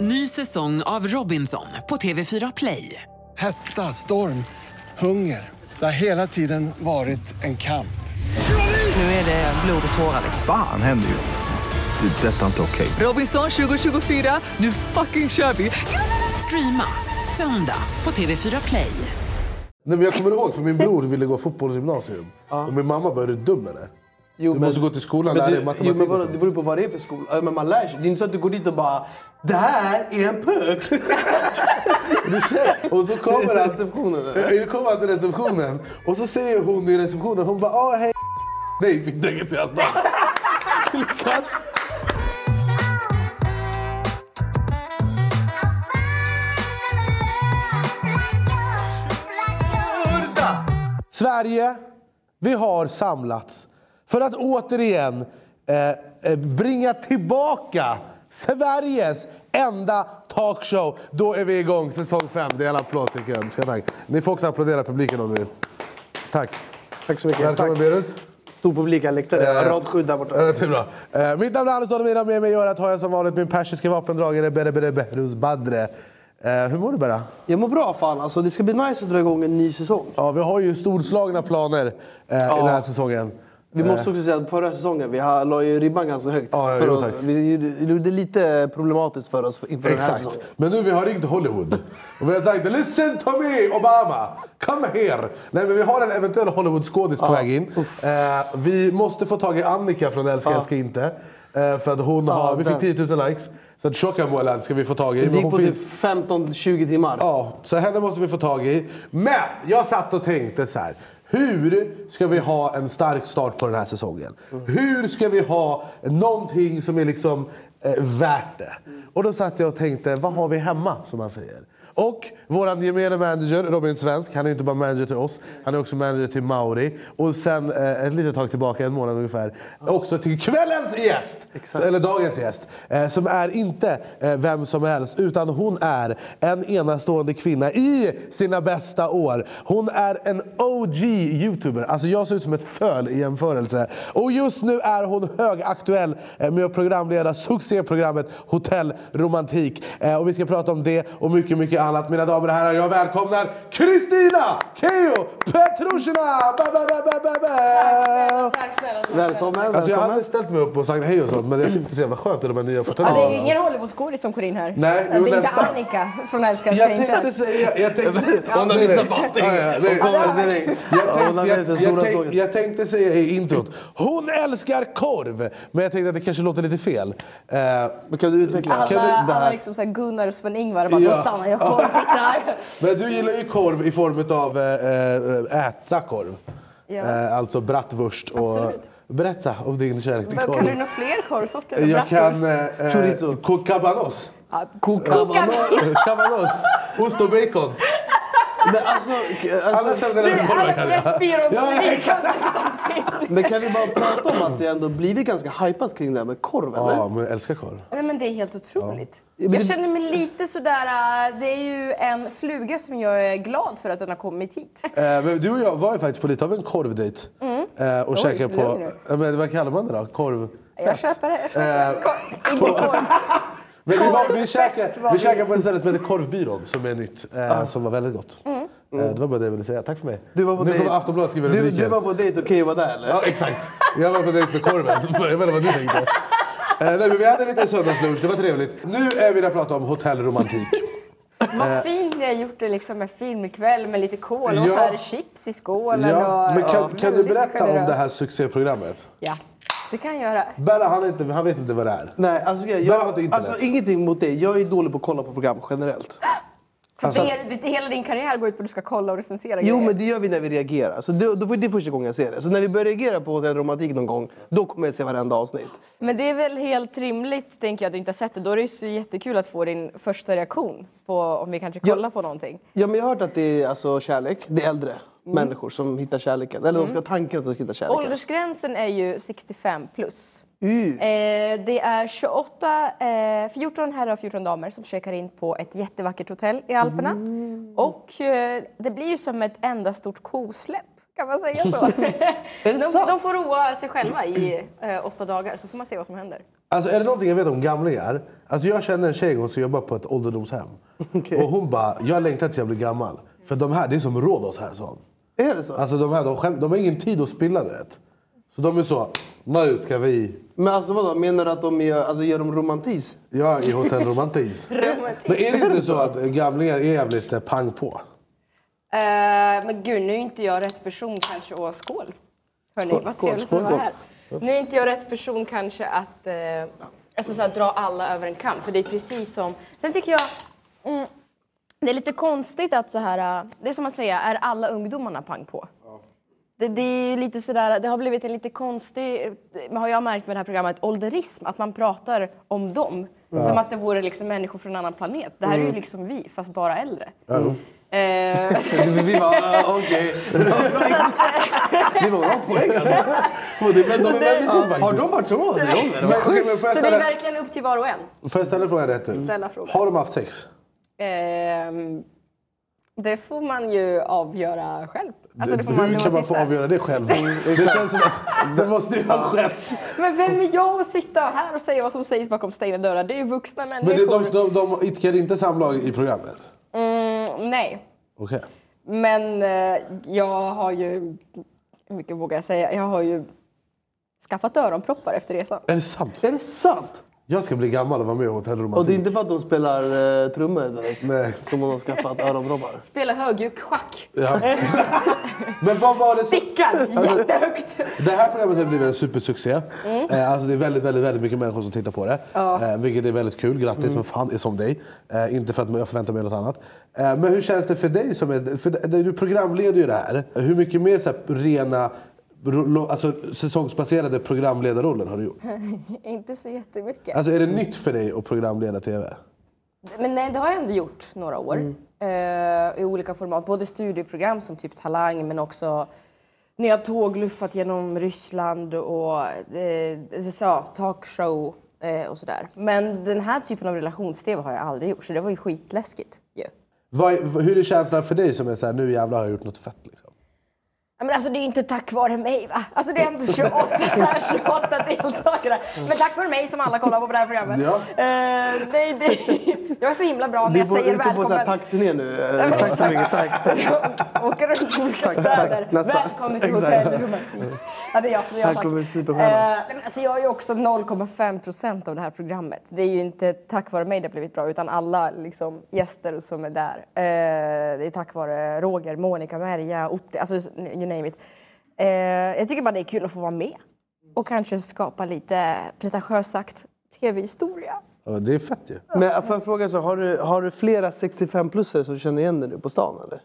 Ny säsong av Robinson på TV4 Play. Hetta, storm, hunger. Det har hela tiden varit en kamp. Nu är det blod och tårar. Fan händer just nu. Det. är Detta är inte okej. Robinson 2024, nu fucking kör vi! Streama söndag på TV4 Play. Nej, men jag kommer ihåg för min bror ville gå fotbollsgymnasium och min mamma bara är du dum eller? Jo, Du måste gå till skolan, men lära det- dig matematik Jo, men och vadå, sånt. det beror på vad det är för skola. Äh, Men man lär sig. Det är inte så att du går dit och bara “Det här är en puck!” Och så kommer han, Receptionen, eller? jag kommer han till receptionen och så säger hon i receptionen, hon bara ah hej Nej, fick däcket till hans namn. Till katt. Sverige, vi har samlats för att återigen eh, eh, bringa tillbaka Sveriges enda talkshow. Då är vi igång, säsong 5. Det är en applåd tycker jag. Ska, tack. Ni får också applådera publiken om ni vill. Tack. Tack så mycket. Välkommen Eh. Tack. Berus. Stor publikläktare. Rad sju där borta. Ja, det är bra. Eh, mitt namn är Anders Olomira, med mig i örat har jag som vanligt min persiska vapendragare Bere Bere Berus Badre. Eh, hur mår du Berra? Jag mår bra fan alltså. Det ska bli nice att dra igång en ny säsong. Ja, vi har ju storslagna planer eh, i den här säsongen. Vi måste också säga att förra säsongen vi har- la ju ribban ganska högt. Eh. Ja, ja, för jo, att- tack. vi det gjorde det lite problematiskt för oss för- inför den här Exakt. säsongen. Men nu vi har ringt Hollywood och vi har sagt “Listen to me Obama, come here”. Nej men vi har en eventuell Hollywood-skådis på väg in. Eh, vi måste få tag i Annika från Älska Ja. älska inte. Eh, för att hon har, vi den. fick 10 000 likes. Så att Shokamuelan ska vi få tag i. Det Men gick hon på finns, typ 15-20 timmar. ja, så henne måste vi få tag i. Men jag satt och tänkte så här. Hur ska vi ha en stark start på den här säsongen? Hur ska vi ha någonting som är liksom eh, värt det? Och då satt jag och tänkte, vad har vi hemma som man säger? Och vår gemene manager Robin Svensk, han är inte bara manager till oss, han är också manager till Mauri. Och sen eh, ett litet tag tillbaka, en månad ungefär, också till kvällens gäst! Så, eller dagens gäst. Eh, som är inte eh, vem som helst, utan hon är en enastående kvinna i sina bästa år. Hon är en OG-youtuber. Alltså jag ser ut som ett föl i jämförelse. Och just nu är hon högaktuell eh, med att programleda succéprogrammet Hotell Romantik. Eh, Och vi ska prata om det och mycket, mycket annat. Mina damer och herrar, jag välkomnar Kristina Keyyo Petrushina! Ba, ba, ba, ba, ba, ba. Tack snälla. Välkommen. Alltså jag välkommen. hade ställt mig upp och sagt hej och sånt, men jag sitter så jävla skönt i de här nya Ja, fåtöljerna. det är ju ingen Hollywoodskådis som går in här. Nej, jo, det är inte nästan. Annika från Älskar Jag Tänka. tänkte säga... Jag tänkte, hon har lyssnat på allting. Välkommen direkt. Hon har med sig stora Jag, sågen. jag tänkte säga i introt, hon älskar korv! Men jag tänkte att det kanske låter lite fel. Eh, Men Kan du utveckla? Alla, Kan du, det alla här? liksom så här Gunnar och Sven-Ingvar bara, Ja. då stannar jag kvar och tittar. men du gillar ju korv i form av äh, äta korv. Ja. Eh, alltså bratwurst. Och, Absolut. Berätta om din kärlek till Men Kan du korv. några fler korvsorter? än Jag kan... bratwurst? eh, eh, Chorizo. ko- Cabanos. Kokan. Cabanos. Ost och bacon. Men alltså, Alla alltså, ställen där Du, det kommer Alla kan jag. Pressbyrån Ja, som vi exakt. kan ta till. men kan vi bara prata om att det ändå blivit ganska hypat kring det här med korv eller? Ja, men jag älskar korv. Nej men det är helt otroligt. Men Jag det- känner mig lite sådär, äh, det är ju en fluga som jag är glad för att den har kommit hit. Eh, men du och jag var ju faktiskt på lite av en korvdejt. Mm. Eh, och käkade på... lugn Eh, men vad kallar man det då? Korv... Jag köper det. Jag köper det. Eh, Kor- Inte korv. Men vi, var, vi, Korvfest käkade, var vi vi. käkade på ett ställe som heter Korvbyrån som är nytt. Eh, Som var väldigt gott. Eh, det var bara det jag ville säga. Tack för mig. Ah. Mm. Du var på nu dejt. kommer Aftonbladet skriva Du, rubriken. du var på dejt och Keyyo var där eller? Ja, exakt. Jag var på dejt med korven. Jag vet inte vad du tänkte. Eh, nej, men vi hade lite söndagslunch, det var trevligt. Nu är vi där och pratar om hotellromantik. Vad fint ni har gjort det liksom med filmkväll med lite kol och Eh, Ja. så här chips i skålen. ja, och, men kan, och kan du väldigt berätta om det generöst. här succéprogrammet? Ja, det kan jag göra. Berra, han, är inte, han vet inte vad det är. Nej, alltså, jag, Där har du jag, internet. alltså ingenting mot dig. Jag är dålig på att kolla på program generellt. För Alltså- det, det, hela din karriär går ut på att du ska kolla och recensera Jo, grejer. men det gör vi när vi reagerar. Så det, då får- det är första gången jag ser det. Så när vi börjar reagera på Hotell Romantik någon gång, då kommer jag se varenda avsnitt. Men det är väl helt rimligt, tänker jag, att du inte har sett det. Då är det ju så jättekul att få din första reaktion på om vi kanske Ja. kollar på någonting. Ja, men jag har hört att det är alltså, kärlek. Det är äldre människor som hittar kärleken. Eller de ska ha tanken att de ska hitta kärleken. Åldersgränsen är ju 65 plus. Uh. Eh, det är 28, eh, 14 herrar och 14 damer som checkar in på ett Mm. jättevackert hotell i Alperna. Och eh, det blir ju som ett enda stort kosläpp Kan man säga så? Är det de, sant? de får roa sig själva i eh, åtta dagar så får man se vad som händer. Alltså är det någonting jag vet om gamlingar? Alltså jag känner en tjej en gång som jobbar på ett ålderdomshem. Okej. Och hon bara, jag längtar tills jag blir gammal. För de här, det är som Rhodos här sa hon. Är det så? Alltså de här, de, skäm, de har ingen tid att spilla du vet. Så de är så, nu ska vi, Men alltså vadå, menar du att de gör, alltså, gör de romantis? jag i Hotell Romantis. Men Romantik. är det inte så att gamlingar är jävligt eh, pang på? Eh, men gud, nu är inte jag rätt person kanske att... Skål! Hörni, Skål, vad skål, trevligt skål, att skål. vara här. Nu är inte jag rätt person kanske att eh, alltså så här, dra alla över en kam. För det är precis som... Sen tycker jag... Mm, det är lite konstigt att så här... eh, Det är som att säga, är alla ungdomarna pang på? Det, det är ju lite sådär, det har blivit en lite konstig, eh, har jag märkt med det här programmet, ålderism. Att man pratar om dem som att det vore liksom människor från en annan planet. Det här Mm. är ju liksom vi, fast bara äldre. Eh, Vi bara, ah, okej. Det var bra poäng alltså. Men de är människor Har faktiskt. de varit så? Alltså, jag undrar. Men, okej, men får, jag Så det är ställa, verkligen upp till var och en. får jag ställa frågan rätt ut? Ställa frågan. Har de haft sex? Ehm, det får man ju avgöra själv. Alltså, det får man- Hur när kan man få sitter. avgöra det själv? Det känns som att det måste ju vara själv. Men vem är jag att sitta här och säga vad som sägs bakom stängda dörrar? Det är ju vuxna Men det, människor. de, de, de idkar inte samlag i programmet? Mm, nej, Okej. men eh, jag har ju... Hur mycket vågar jag säga? Jag har ju skaffat öronproppar efter resan. Är det sant? Är det sant? Jag ska bli gammal och vara med i Hotell Och det är Romantik. inte för att de spelar eh, trummor direkt? Nej. Som hon har skaffat öronproppar? Spela högljutt schack. Ja. Men vad var det som... Stickar jättehögt. Det här programmet har blivit en supersuccé. Eh, Alltså det är väldigt, väldigt, väldigt mycket människor som tittar på det. Eh, Vilket är väldigt kul. Grattis, men fan är som dig. Eh, Inte för att jag förväntar mig något annat. Eh, Men hur känns det för dig? som är, för det- Du programleder ju det här. Hur mycket mer så här, rena ro- lo- alltså, säsongsbaserade programledarroller har du gjort? Inte så jättemycket. Alltså är det nytt för dig att programleda TV? Men nej, det har jag ändå gjort några år. Eh, I olika format. Både studieprogram som typ Talang men också när jag tågluffat genom Ryssland och eh, så, ja, talkshow eh, och sådär. Men den här typen av relations-tv har jag aldrig gjort så det var ju skitläskigt ju. Vad, hur är känslan för dig som är så här, nu jävlar har jag gjort något fett liksom? Ja, Men alltså det är inte tack vare mig va? Alltså det är ändå 28, 28 deltagare. Men tack vare mig som alla kollar på på det här programmet. Ja. Eh, nej, det, jag är så himla bra Du när är jag på, säger ute på så här välkommen. tackturné nu. Eh, Tack så mycket, tack. tack. Alltså, Jag åker runt i olika Tack, städer. tack. Nästa. Välkommen till Exakt. Hotell Romantik. Ja, det är jag. Det är jag Här tack. kommer superstjärnan. Eh, nej, men alltså jag är ju också 0,5 procent av det här programmet. Det är ju inte tack vare mig det har blivit bra utan alla liksom, gäster som är där. Eh, det är tack vare Roger, Monica, Merja, Otti, alltså you name it. Eh, jag tycker bara det är kul att få vara med och kanske skapa lite pretentiöst sagt tv-historia. Ja, Det är fett ju. Men får jag fråga, så, har, du, har du flera 65-plussare som känner igen dig nu på stan eller?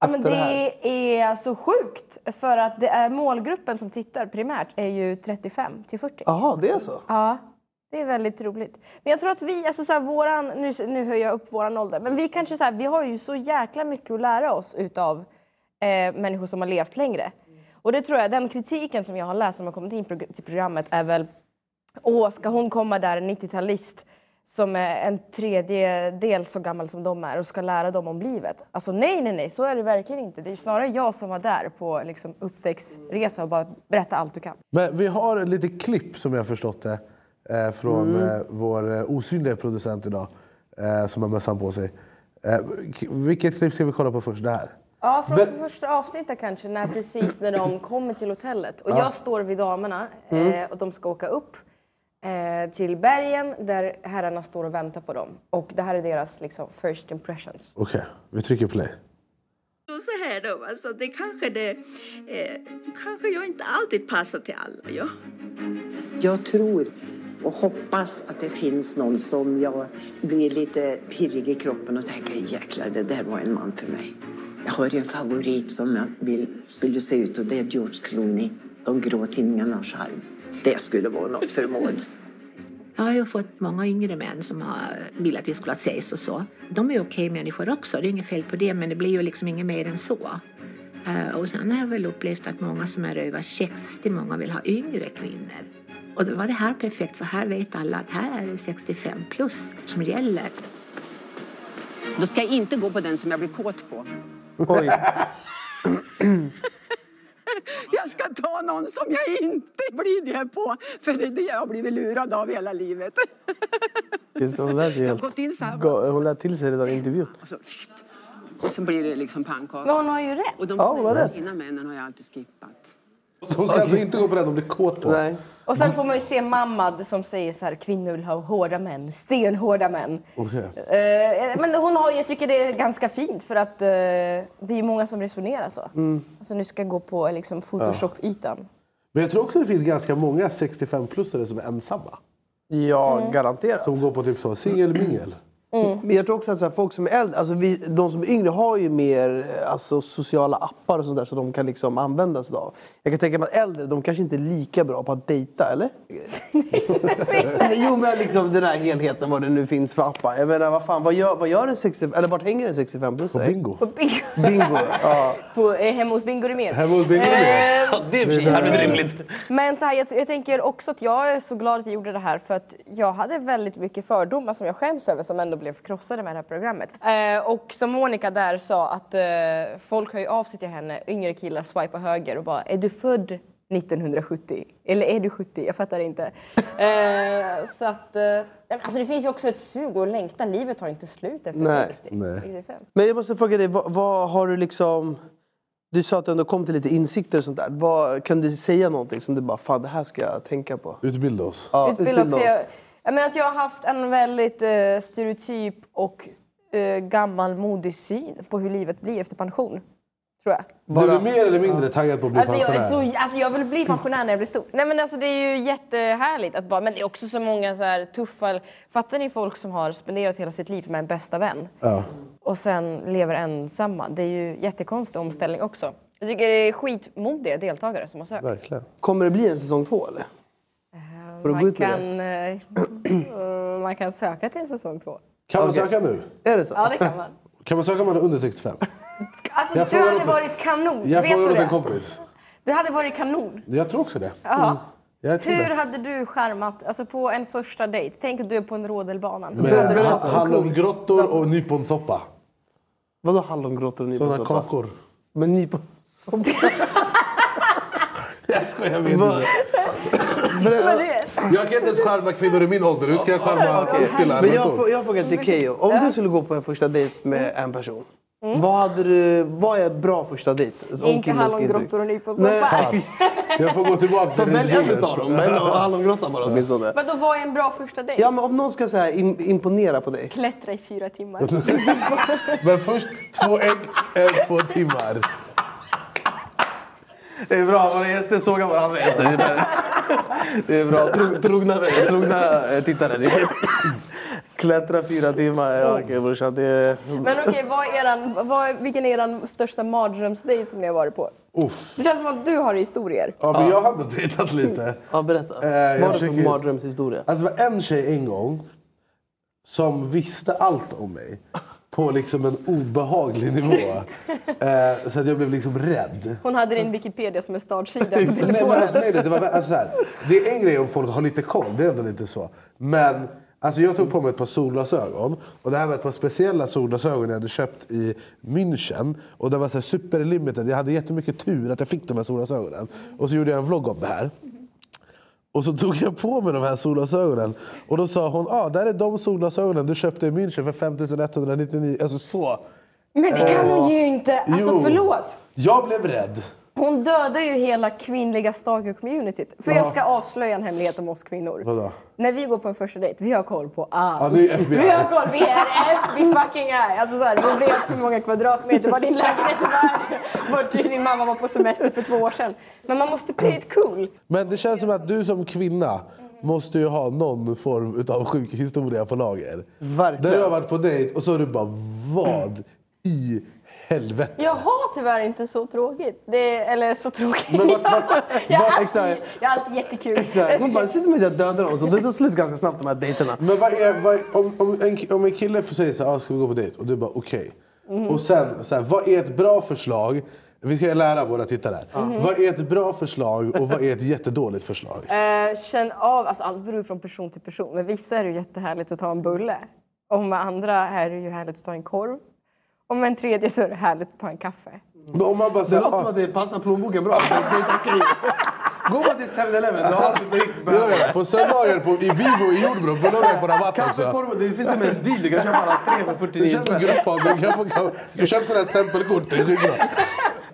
Ja, men Efter det här. det, är så sjukt för att det är målgruppen som tittar primärt är ju 35 till 40. Jaha, det är så? Ja, det är väldigt roligt. Men jag tror att vi, alltså så här, våran, nu, nu höjer jag upp våran ålder, men vi kanske så här, vi har ju så jäkla mycket att lära oss utav eh, människor som har levt längre. Och det tror jag, den kritiken som jag har läst som har kommit in prog- till programmet är väl, åh, ska hon komma där, en 90-talist som är en tredjedel så gammal som de är och ska lära dem om livet. Alltså nej, nej, nej, så är det verkligen inte. Det är ju snarare jag som var där på liksom, upptäcktsresa och bara berätta allt du kan. Men vi har lite klipp som jag förstått det eh, från eh, vår eh, osynliga producent idag eh, som har mössan på sig. Eh, k- vilket klipp ska vi kolla på först? Det här. Ja, från Men- första avsnittet kanske, när precis när de kommer till hotellet. Och jag står vid damerna eh, och de ska åka upp eh, till bergen där herrarna står och väntar på dem. Och det här är deras liksom, first impressions. Okej, vi trycker play. Och så här då, alltså det kanske det... Mm. Eh, kanske jag inte alltid passar till alla, ja. Jag tror och hoppas att det finns någon som jag blir lite pirrig i kroppen och tänker jäklar, det där var en man för mig. Jag har ju en favorit som jag vill skulle se ut och det är George Clooney. De grå tinningarnas charm. Det skulle vara något för Maud. Jag har ju fått många yngre män som har vill att vi skulle ha sex och så. De är ju okej människor också, det är inget fel på det, men det blir ju liksom inget mer än så. Eh, Och sen har jag väl upplevt att många som är över 60, många vill ha yngre kvinnor. Och då var det här perfekt, för här vet alla att här är det 65 plus som gäller. Då ska jag inte gå på den som jag blir kåt på. Oj. ta någon som jag inte blir det på. För det är det jag har blivit lurad av hela livet. Hon lät ju Jag har helt... gått in så här bara. ga- Hon lät till sig redan i intervjun. Och så, Alltså, pst, och så blir det liksom pannkaka. Men hon har ju rätt. Och de Ja, som hon har är rätt. fina männen har jag alltid skippat. Hon ska alltså inte gå på den hon blir kåt på. Nej. Och sen får man ju se Mamad som säger så här, kvinnor vill ha hårda män, stenhårda män. Eh, men hon har, jag tycker det är ganska fint för att eh, det är många som resonerar så. Alltså nu ska jag gå på liksom, photoshop-ytan. Men jag tror också det finns ganska många 65-plussare som är ensamma. Ja, garanterat. Som går på typ så singel-mingel. Men jag tror också att så här, folk som är äldre, alltså vi, de som är yngre har ju mer eh, alltså, sociala appar och sånt där så de kan liksom använda sig av. Jag kan tänka mig att äldre, de kanske inte är lika bra på att dejta, eller? jo, men liksom den där helheten vad det nu finns för appar. Jag menar, vad fan, vad gör, vad gör en 65, eller vart hänger en 65-plussare? Bingo. På bingo. Bingo, ja. på, eh, hemma hos Bingo Rimér. Hemma hos Bingo Rimér. Eh, Det är i och för sig jävligt rimligt. Men så här, jag, jag tänker också att jag är så glad att jag gjorde det här för att jag hade väldigt mycket fördomar som jag skäms över som ändå blev krossade med det här programmet. Eh, och som Monica där sa att eh, folk hör ju av sig till henne, yngre killar swipar höger och bara är du född 1970? Eller är du 70? Jag fattar inte. Eh, så att, eh, nej, men alltså det finns ju också ett sug och en längtan. Livet tar inte slut efter Nej. 60. Nej. 65. Men jag måste fråga dig, vad, vad har du liksom... Du sa att du ändå kom till lite insikter och sånt där. Vad, kan du säga någonting som du bara, fan det här ska jag tänka på? Eh. Utbilda oss. Ja, Utbilda oss. Jag, jag menar att jag har haft en väldigt eh, stereotyp och eh, gammalmodig syn på hur livet blir efter pension. Tror jag. Blev du mer eller mindre taggad på att bli Alltså jag, är pensionär? så, alltså jag vill bli pensionär när jag blir stor. Nej men alltså det är ju jättehärligt att bara, men det är också så många så här tuffa, fattar ni folk som har spenderat hela sitt liv med en bästa vän Ja. och sen lever ensamma. Det är ju jättekonstig omställning också. Jag tycker det är skitmodiga deltagare som har sökt. Verkligen. Kommer det bli en säsong två eller? Får du gå Man ut med det? kan, eh, eh, man kan söka till säsong två. Kan man söka nu? Är det så? Ja, det kan man. Kan man söka om man är under 65? Alltså, Jag du frågar hade åt en- varit kanon. Jag Vet frågar du åt en det? kompis. Du hade varit kanon. Jag tror också det. Mm. Jaha. Jag tror Hur det. hade du skärmat, alltså på en första dejt? Tänk att du är på en rodelbana. Med ha- hallongrottor och nyponsoppa. Vadå hallongrottor och Sådana nyponsoppa? kakor. Men nypon... Jag skojar med dig. Jag kan inte ens charma kvinnor i min ålder. Hur ska jag charma killar? Men jag, får- jag frågar till Keyyo. Om du skulle gå på en första dejt med Mm. en person. Vad, hade du, vad är en bra första dejt? Alltså, Om Inte killen ska hallongrottor och Nej, nyponsoppa. fan. Jag får gå tillbaka till Ta Välj en intervjuet. utav dem. Välj en hallongrotta bara åtminstone. Men då var en bra första dejt? Ja, men om någon ska så här, im- imponera på dig. Klättra i fyra timmar. Men först två ägg, eh, två timmar. Det är bra, våra gäster sågar varandra gäster. Det är bra. Det är bra. Tro- Trogna, trogna eh, tittare. Det är- Klättra fyra timmar. Ja, okej brorsan. Det är... Men okej, vad är eran, vad, vilken är er största mardrömsdejt som ni har varit på? Uff. Det känns som att du har historier. Ja, men jag har ändå dejtat lite. Ja, berätta. Eh, jag Vad är det för försöker- mardrömshistoria? Alltså det var en tjej en gång som visste allt om mig. På liksom en obehaglig nivå. Eh, så att jag blev liksom rädd. Hon hade din Wikipedia som en startsida på Nej, telefonen. men alltså, nej, det, var, alltså, så här, det är en grej om folk har lite koll, det är ändå lite så. Men alltså, jag tog på mig ett par solglasögon. Och det här var ett par speciella solglasögon jag hade köpt i München. Och det var så här, superlimited. Jag hade jättemycket tur att jag fick de här solglasögonen. Och så gjorde jag en vlogg om det här. Och så tog jag på mig de här solglasögonen. Och då sa hon, ah, där är de solglasögonen du köpte i München för 5199. Alltså så. Men det kan hon ju inte! Alltså Jo. förlåt! Jag blev rädd. Hon dödar ju hela kvinnliga stalker-communityt. För jag ska avslöja en hemlighet om oss kvinnor. Vadå? När vi går på en första dejt, vi har koll på allt. Ja, det är FBI. Vi har koll, E vi är FBI fucking är. Alltså så här, vi vet hur många kvadratmeter, var din lägenhet är värd, vart din mamma var på semester för två år sedan. Men man måste play it cool. Men det känns som att du som kvinna måste ju ha någon form av sjuk historia på lager. Där du har Verkligen. varit på dejt och så har du bara vad i helvete? Jag har tyvärr inte så tråkigt. Det är, eller så tråkigt. Men vart- vart- jag, har alltid, exakt. jag har alltid jättekul. Exakt. Hon bara, sitter med att jag dödar dem. Så det tar slut ganska snabbt de här dejterna. Men vad är, vad är, om, om, en, om en kille säger så här, ah, ska vi gå på dejt? Och du bara okej. Mm. Och sen, så här, vad är ett bra förslag? Vi ska lära våra tittare. här. Mm. Vad är ett bra förslag och vad är ett jättedåligt förslag? Eh, känn av, alltså allt beror ju från person till person. Med vissa är det ju jättehärligt att ta en bulle. Och med andra är det ju härligt att ta en korv. Om en tredje så är det härligt att ta en kaffe. Men om man bara Det säger... låter "Ah, som att det passar plånboken bra. Gå bara till 7-Eleven, du har alltid Ja, ja, drickbär. På söndagar på, i Vivo i Jordbro, på lördagar på Rabatt också. Kaffekorv, det finns till och med en deal. Du kan köpa alla tre för Det 49 känns som en spänn. gruppavdrag. Jag får- jag- Jag köper sådana här stämpelkort, det är skitbra.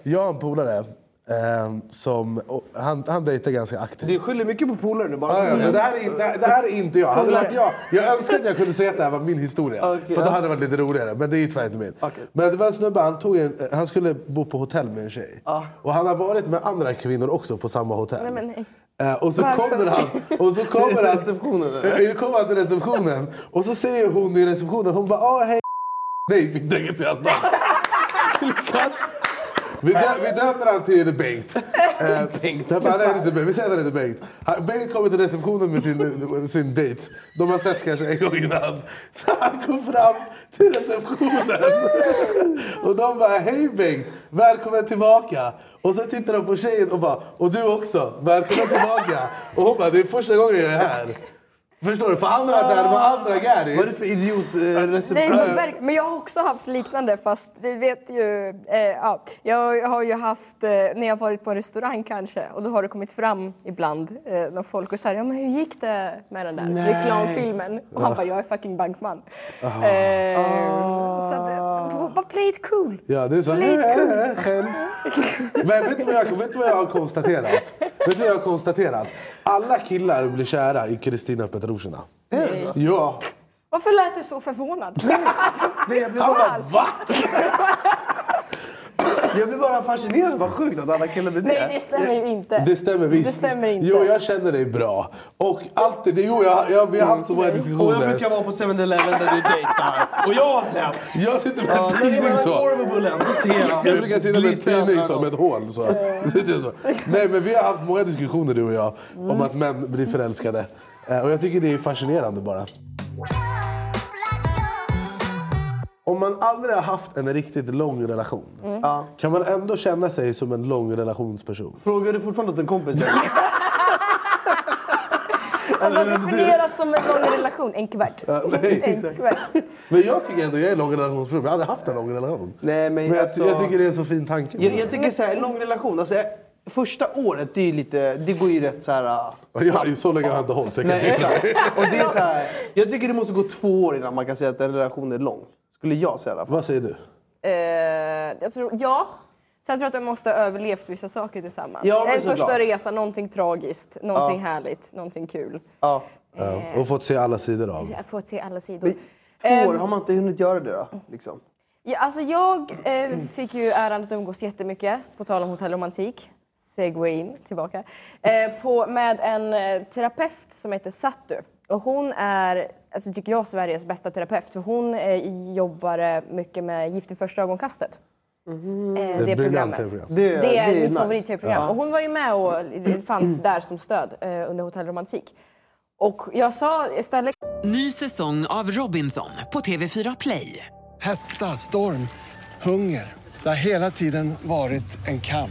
Jag har en polare eh, som... och Han, han dejtar ganska aktivt. Du skyller mycket på polaren nu. Bara Ja, ja, så. men det, här är, inte- det, här- det här är inte jag. Hade det varit jag. Jag önskar att jag kunde säga att det här var min historia. Okej, för då ja. hade det varit lite roligare. Men det är ju tyvärr inte min. Okej. Men det var en snubbe, han, tog en, eh, han skulle bo på hotell med en tjej. Och han har varit med andra kvinnor också på samma hotell. Nej, men nej. Eh, och så kommer han, och så kommer han, Receptionen, eller? Eh, kommer han till receptionen. Och så säger hon i receptionen, hon bara ah hej Nej, vi döper till hans namn. Vi, dö- vi döper han till Bengt. Eh, Bengt. Därför han är inte Bengt. Vi säger att han heter Bengt. Han, Bengt kommer till receptionen med sin, sin dejt. De har sett kanske en gång innan. Så han går fram till receptionen. Och de bara, hej Bengt, välkommen tillbaka. Och så tittar de på tjejen och bara, och du också, välkommen tillbaka. Och hon bara, det är första gången jag är här. Förstår du? För han har varit där med andra Vad är det Garris. för idiotreception? Nej, men, verk- men jag har också haft liknande fast du vet ju, eh, ja, jag har ju haft, eh, när jag varit på en restaurang kanske och då har det kommit fram ibland eh, när folk och säger ja men hur gick det med den där Nej. reklamfilmen? Och han bara jag är fucking bankman. Ah. Eh, Så att, eh, bara play it cool. Ja, det är så. "Äh, Play it cool. Själv. Men vet du, vad jag, vet du vad jag har konstaterat? Vet du vad jag har konstaterat? Alla killar blir kära i Kristina Petrushina. Är det så? Ja. Varför lät du så förvånad? alltså, Nej, jag, blir Han bara, bara, va? jag blir bara fascinerad. Vad sjukt att alla killar blir det. nej det stämmer ju inte. Det stämmer visst. Det stämmer inte. Jo, jag känner dig bra. Och alltid, det, jo, jag, jag, vi har haft så många Och jag brukar diskussioner. vara på 7-Eleven där du dejtar. Och jag har sett. Jag sitter med Ja, en när det är tidning mellan så. korv och bullen, då ser jag. Jag brukar sitta med en Glisterar tidning hans ögon. som ett hål. Så. Sitter jag så. Nej, men vi har haft många diskussioner du och jag Mm. om att män blir förälskade. Eh, Och jag tycker det är fascinerande bara. Om man aldrig har haft en riktigt lång relation, Ja. kan man ändå känna sig som en lång relationsperson? Frågar du fortfarande åt en kompis? Om man definieras som en lång relation, en kvart. Ja, nej, en exakt. kvart. Men jag tycker ändå jag är en lång relationsperson. Jag har aldrig haft en lång relation. Nej, men jag, alltså- jag tycker det är en så fin tanke. Jag, jag tänker så här, en lång relation. Alltså, jag- första året, det, är ju lite, det går ju rätt så här... äh, Jag har ju så länge har jag inte hållit så jag kan Nej, inte- exakt. Och det är så här, jag tycker det måste gå två år innan man kan säga att en relation är lång. Skulle jag säga i alla fall. Vad säger du? Eh, jag tror, ja. Sen tror jag att de måste ha överlevt vissa saker tillsammans. Ja, men en såklart. första resa, någonting tragiskt, någonting härligt, någonting kul. Ja. Ja, och fått se alla sidor av. Jag får se alla sidor. Men Ehm. Två år, har man inte hunnit göra det då? Liksom. Ja, alltså jag eh, fick ju äran att umgås jättemycket, på tal om hotellromantik, segway in tillbaka, eh, på, med en eh, terapeut som heter Sattu. Och hon är, alltså, tycker jag, Sveriges bästa terapeut. För hon eh, jobbar eh, mycket med Gift i första ögonkastet. Mm-hmm. Eh, det, briljant programmet. program. Det, Det är, mitt typ. nice. favorit-tv-program. Och hon var ju med och det fanns där som stöd eh, under Hotell Romantik. Och jag sa istället Ny säsong av Robinson på TV4 Play. Hetta, storm, hunger. Det har hela tiden varit en kamp.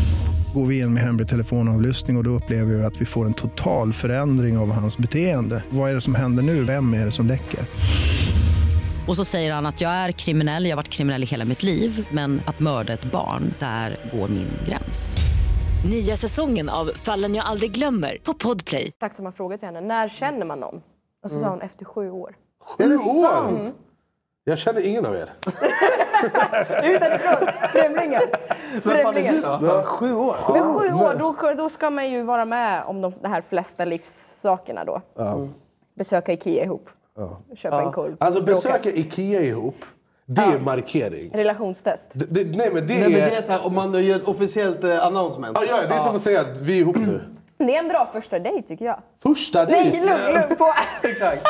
Går vi in med hemlig telefonavlyssning och, och då upplever vi att vi får en total förändring av hans beteende. Vad är det som händer nu? Vem är det som läcker? Och så säger han att jag är kriminell, jag har varit kriminell i hela mitt liv men att mörda ett barn, där går min gräns. Nya säsongen av Fallen jag aldrig glömmer på Podplay. tacksamma frågor till henne. När känner man någon? Och så sa hon efter sju år. Är det sant? Jag känner ingen av er. Utanifrån, främlingar. Vem fan är du Främlingar. då? Ja. Sju år? Vid sju år, då, då ska man ju vara med om de, de här flesta livssakerna då. Besöka Ikea ihop. Köpa en korv. Alltså bråka. besöka Ikea ihop, det är markering. Relationstest. Det, det, nej men det Nej, men det är är... så här, om man gör ett officiellt eh, announcement. Ja, ja, det är som att säga att vi är ihop nu. Det är en bra första dejt tycker jag. Första Nej, dejt! lugn, lugn. På, Exakt.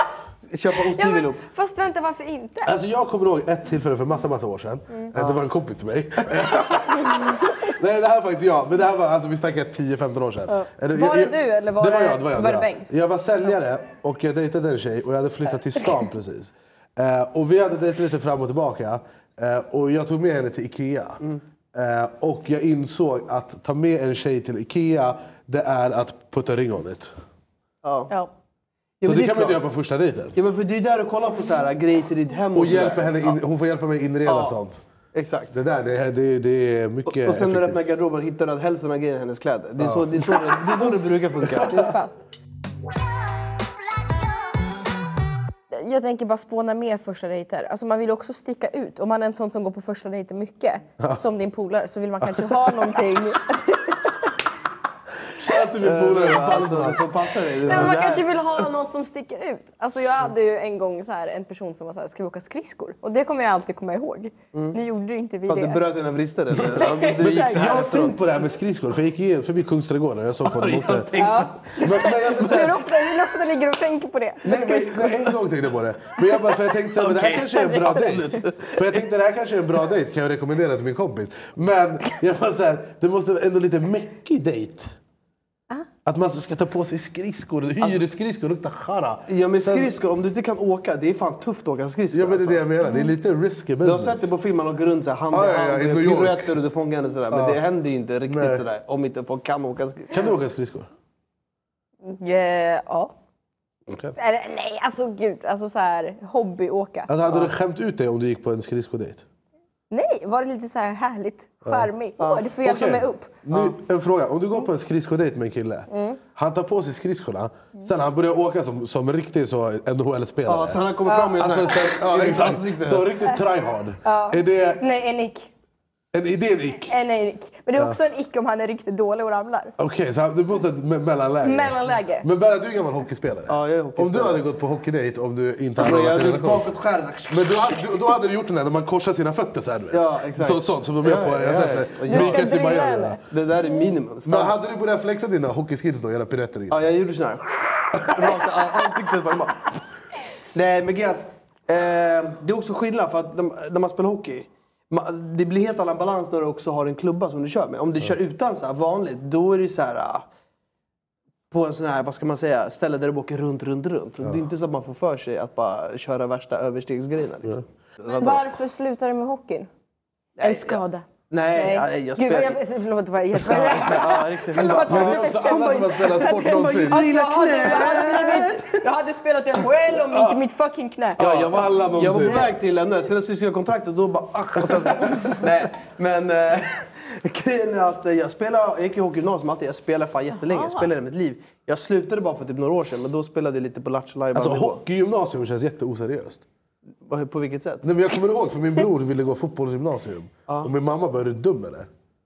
Köpa Ja, osthyveln men, upp. fast vänta, varför inte? Alltså jag kommer ihåg ett tillfälle för massa, massa år sedan. Mm. Det var en kompis till mig. Nej det här var inte jag, men det här var, alltså vi snackar 10-15 år sedan. Ja. Eller, jag- Var det jag- du eller var det var det- jag, det var jag. var det det jag. Bengt? jag var säljare och jag dejtade en tjej och jag hade flyttat till stan precis. Eh, och vi hade dejtat lite fram och tillbaka. Eh, och jag tog med henne till Ikea. Mm. Eh, och jag insåg att ta med en tjej till Ikea, det är att putta ring on it. Ja. Ja. Så men det är kan man klart. inte göra på första dejten. Ja men för det är ju där du kollar på så här eh, grejer till ditt hem Och sådär. hjälper henne in, hon får hjälpa mig inreda Ja. sånt. Exakt. Det där, det, det, det är mycket Och sen när eh, du effektivt. öppnar garderoben hittar du att hälften av grejerna är hennes kläder. Det är, Ja. så, det, är så, det, det är så det brukar funka. Du är fast. Jag tänker bara spåna mer första dejter. Alltså man vill ju också sticka ut. Om man är en sån som går på första dejter mycket, Ja. som din polare, så vill man kanske ha någonting. Att du vill bo där i Alltså, du får passa dig. Du Nej, men man får- kanske vill ha något som sticker ut. Alltså jag hade ju en gång så här, en person som var så här, ska vi åka skridskor? Och det kommer jag alltid komma ihåg. Mm. Nu gjorde ju inte vi För att det. du bröt dina vrister eller? Ja, men Du Men gick så jag här har efteråt. tänkt på det här med skridskor, för jag gick igen förbi Kungsträdgården och jag såg folk mot det. Ja. Men, men jag, Hur ofta, hur ofta ligger du och tänker på det? nej, men, Skridskor. nej, en gång tänkte jag på det. Men jag, bara, för jag tänkte så här, men det här Okej. kanske är en bra dejt. För jag tänkte det här kanske är en bra dejt, kan jag rekommendera till min kompis. Men jag bara så här, det måste vara ändå lite mäckig dejt. Ah. Att man ska ta på sig skridskor, Alltså- hyresskridskor, lukta chara. Ja men Sen- skridskor, om du inte kan åka, det är fan tufft att åka skridskor. Ja men det är Alltså- det jag menar. Det är lite risky Du har business. sett det på film, man åker runt så här, hand i Ja, ja, ja, hand, i du New York. gör piruetter och du fångar henne sådär. Men Ja. det händer ju inte riktigt Nej. sådär om inte folk kan åka skridskor. Kan du åka skridskor? Eh, Ja. Okej. Eller, nej, alltså gud. Alltså så här, hobbyåka. Alltså, hade Ja. du skämt ut dig om du gick på en skridsko-dejt? Nej, var det lite så här härligt, charmig? Åh, du får hjälpa Okej. mig upp. Nu, en fråga. Om du går på en skridsko-dejt med en kille. Mm. Han tar på sig skridskorna, sen han börjar åka som, som riktig så NHL-spelare. Ja, så han kommer fram med en sån här- Alltså, sen- ja, i ditt exakt. ansikte. Så riktigt tryhard. Ja. Är det Nej, en ick. en idé en ick? En ick. Eh, Men det är Ja. också en ick om han är riktigt dålig och ramlar. Okej, så han- du måste ha ett me- mellanläge. Mellanläge. Men Berra, du är gammal hockeyspelare. Ja, jag är Om du hade gått på hockeydejt om du inte hade Alltså, jag varit i hade en gjort relation. bakåtskär. Men då, hade- då hade du gjort den där när man korsar sina fötter så här, du vet. Ja, exakt. Så, sånt som de gör på... Ja, Jag har ja, sett ja. det. Du ska Mikael drilla, Zibanejad. eller? Det där är minimum. Men hade du börjat flexa dina hockeyskills då? Göra piruetter? Ja, jag gjorde så här. Rakt i ansiktet på dem bara. Nej, men grejen är att, eh, det är också skillnad för att de, när man spelar hockey, ma- det blir helt annan balans när du också har en klubba som du kör med. Om du kör utan så här vanligt, då är det så här ah, på en sån här, vad ska man säga, ställe där du åker runt, runt, runt. Det är inte så att man får för sig att bara köra värsta överstegsgrejerna. Liksom. Varför slutar du med hockeyn? En skada. Nej, nej, jag Gud, vad spelar... jag, förlåt, vad jag helt... Ja, riktigt. Hon bara- Men det är också alla som har spelat sport någonsin. Alltså, jag, hade, jag, hade blivit, jag hade spelat NHL om inte mitt fucking knä. Ja, jag var, jag var på någonsin. väg till henne, sen så skrev kontraktet och då bara ach, och sen så. Nej, men eh, grejen är att eh, jag spelade, jag gick i hockeygymnasium alltid. Jag spelade fan jättelänge, jag spelade i mitt liv. Jag slutade bara för typ några år sedan, men då spelade jag lite på Lattjo Alltså Lajban-nivå. hockeygymnasium känns jätteoseriöst. Vad- På vilket sätt? Nej, men jag kommer ihåg för min bror ville gå fotbollsgymnasium. Och min mamma bara, är du dum eller?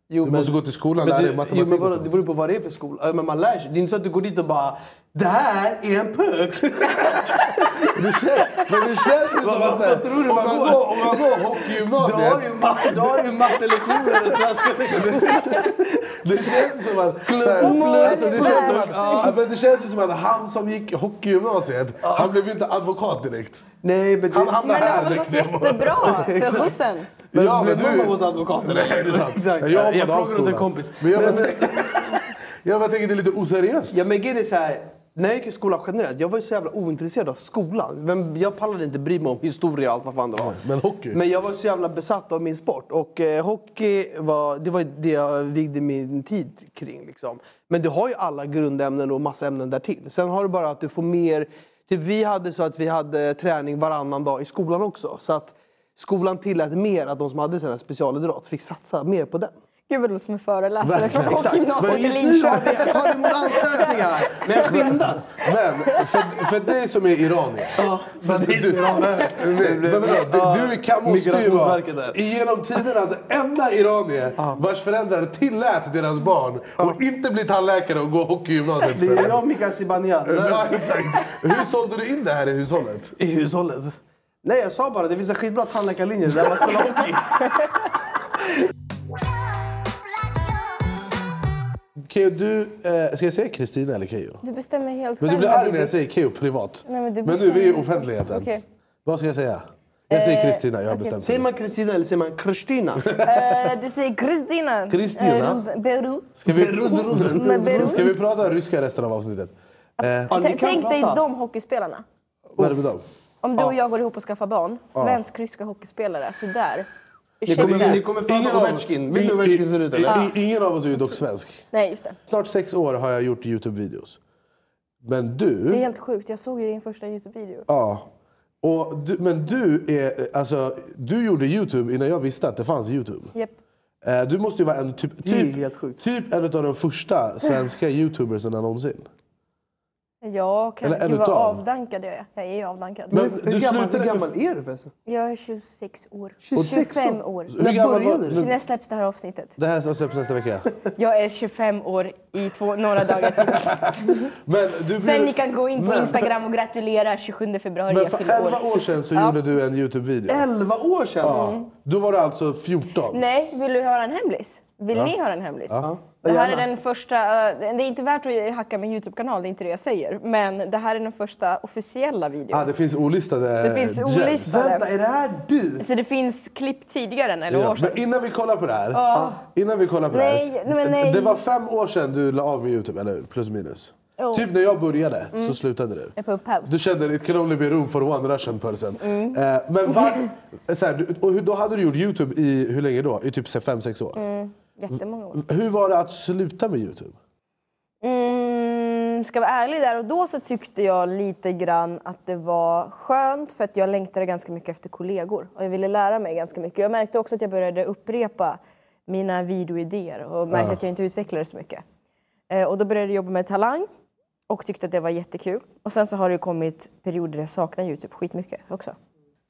du måste gå till skolan och lära dig men du, jo, matematik. men och vadå, sånt." det beror på vad det är för skola. Ja, Men man lär sig. Det är inte så att du går dit och bara det här är en puck! Det känns- Men det känns ju som Vad- att så här, vad tror du om man man går? går- om man går Du har ju hockeygymnasiet. ma- du har ju mattelektioner och svenska lektioner. Det känns som att... så här, Klubba plus alltså, det, känns som att Ja. ja, men det känns ju som att han som gick hockeygymnasiet, han blev ju inte advokat direkt. Nej, men det- Han hamnade Men det har här väl direkt. gått jättebra för Exakt. husen? Men blev du mamma hos advokaten? Nej, det är sant. Exakt. Jag, Jag hoppade av frågade åt en skolan. kompis. Men jag, Men- bara, jag bara tänker det är lite oseriöst. Ja men grejen är så här, när jag gick i skolan generellt, jag var ju så jävla ointresserad av skolan. Vem, jag pallade inte bry mig om historia och allt vad fan det var. Men hockey? Men jag var så jävla besatt av min sport och eh, hockey var det, var ju det jag vigde min tid kring. Liksom. Men du har ju alla grundämnen och massa ämnen därtill. Sen har du bara att du får mer... Typ vi hade så att vi hade träning varannan dag i skolan också. Så att skolan tillät mer att de som hade sån här specialidrott fick satsa mer på den. Gud vad du som är föreläsare från Verkligen. Exakt. hockeygymnasiet Men i just nu har vi- Linköping. tar emot ansökningar. Men skynda! Men för, för dig som är iranier. Ja, för dig som är iranier. Nej, men vadå? Du, du kan, måste ju vara Migrationsverket där. genom tidernas enda iranier vars föräldrar tillät deras barn att inte bli tandläkare och gå hockeygymnasiet. Det är jag och Mikael Zibanejad. Ja, exakt. Hur sålde du in det här i hushållet? I hushållet? Nej, jag sa bara det finns en skitbra tandläkarlinje där man spelar hockey. Keyyo, du... Eh, ska jag säga Kristina eller Keyyo? Du bestämmer helt Men du själv blir vad arg när jag vill. säger Keyyo privat. Nej, men du nu, vi är i bestämmer. offentligheten. Okej. Vad ska jag säga? Jag säger Eh, Kristina, jag har okej. bestämt Säger man Kristina eller säger man Kristina? Eh, du säger Kristina. Kristina? Eh, Rosen- Berus. Ska vi, Men Berus. ska vi prata ryska resten av avsnittet? Eh, T- Tänk dig de hockeyspelarna. Vad är det med dem? Om du och jag går ihop och skaffar barn. Ja. Svensk-ryska hockeyspelare. alltså Sådär. Ni kommer- ni kommer fan Ingen av- av- Ovechkin. Vet du hur Ovechkin ser ut, eller? I- i- Ingen av oss är ju dock svensk. Nej, just det. Snart sex år har jag gjort Youtube-videos. Men du... Det är helt sjukt. Jag såg ju din första Youtube-video. Ja. Och du, men du, är, alltså, du gjorde Youtube innan jag visste att det fanns Youtube. Japp. Eh, Du måste ju vara en typ, typ, typ en av de första svenska youtubersen någonsin. Ja, kan Eller en Gud vad utav. avdankad jag är. Jag är ju avdankad. Men Hur- hur du gammal- slutade- hur gammal är du förresten? Jag är 26 år. 26 25 år? år. Hur När gammal började var- du? Så När släpps det här avsnittet? Det här som släpps nästa vecka. Jag är 25 år i två, några dagar till. Men du Sen ni kan gå in på men, Instagram och gratulera 27 februari. Men jag för fyller 11 år sedan så gjorde du en Youtube-video. 11 år sedan? Ja. Då var du alltså 14. Eh. Nej, vill du höra en hemlis? Vill Ja. ni höra en hemlis? Ja. Det här är Gärna. den första, eh, det är inte värt att hacka min Youtube-kanal, det är inte det jag säger. Men det här är den första officiella videon. Ah, det finns olistade Det finns gems. olistade. Vänta, är det här du? Så det finns klipp tidigare än 11 Ja, år sedan. men innan vi kollar på det här. Ja. Innan vi kollar på Nej, det här. nej, men nej. Det var fem år sedan du la av med Youtube, eller hur? Plus minus. Jo. Typ när jag började Mm. så slutade du. Jag är på paus. Du kände it can only be room for one Russian person. Mm. Eh, men var, så här, du- och hur- då hade du gjort Youtube i hur länge då? I typ 5-6 år? Mm, jättemånga år. Hur var det att sluta med Youtube? Mm, ska vara ärlig där och då så tyckte jag lite grann att det var skönt för att jag längtade ganska mycket efter kollegor och jag ville lära mig ganska mycket. Jag märkte också att jag började upprepa mina videoidéer och märkte Ja. att jag inte utvecklade så mycket. Eh, och då började jag jobba med Talang och tyckte att det var jättekul. Och sen så har det ju kommit perioder där jag saknar Youtube skitmycket också.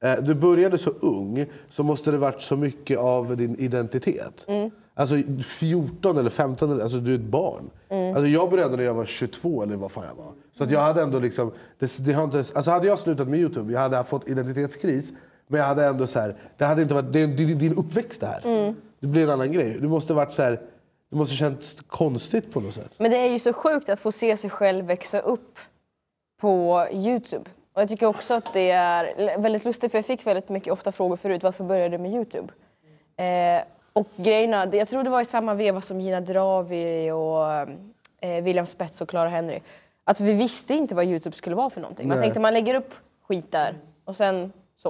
Eh, du började så ung, så måste det varit så mycket av din identitet. Mm. Alltså 14 eller 15, eller- alltså du är ett barn. Mm. Alltså jag började när jag var 22 eller vad fan jag var. Så att jag hade ändå liksom, det, det har inte, ens- alltså hade jag slutat med Youtube, jag hade fått identitetskris. Men jag hade ändå så här, det hade inte varit, det är din, din uppväxt det här. Mm. Det blir en annan grej. Du måste varit så här, du måste känts konstigt på något sätt. Men det är ju så sjukt att få se sig själv växa upp på Youtube. Och jag tycker också att det är l- väldigt lustigt för jag fick väldigt mycket ofta frågor förut. Varför började du med Youtube? Eh, och grejerna, det- jag tror det var i samma veva som Gina Dravi och eh, William Spets och Clara Henry. Att vi visste inte vad Youtube skulle vara för någonting. Man Nej. tänkte man lägger upp skit där och sen så.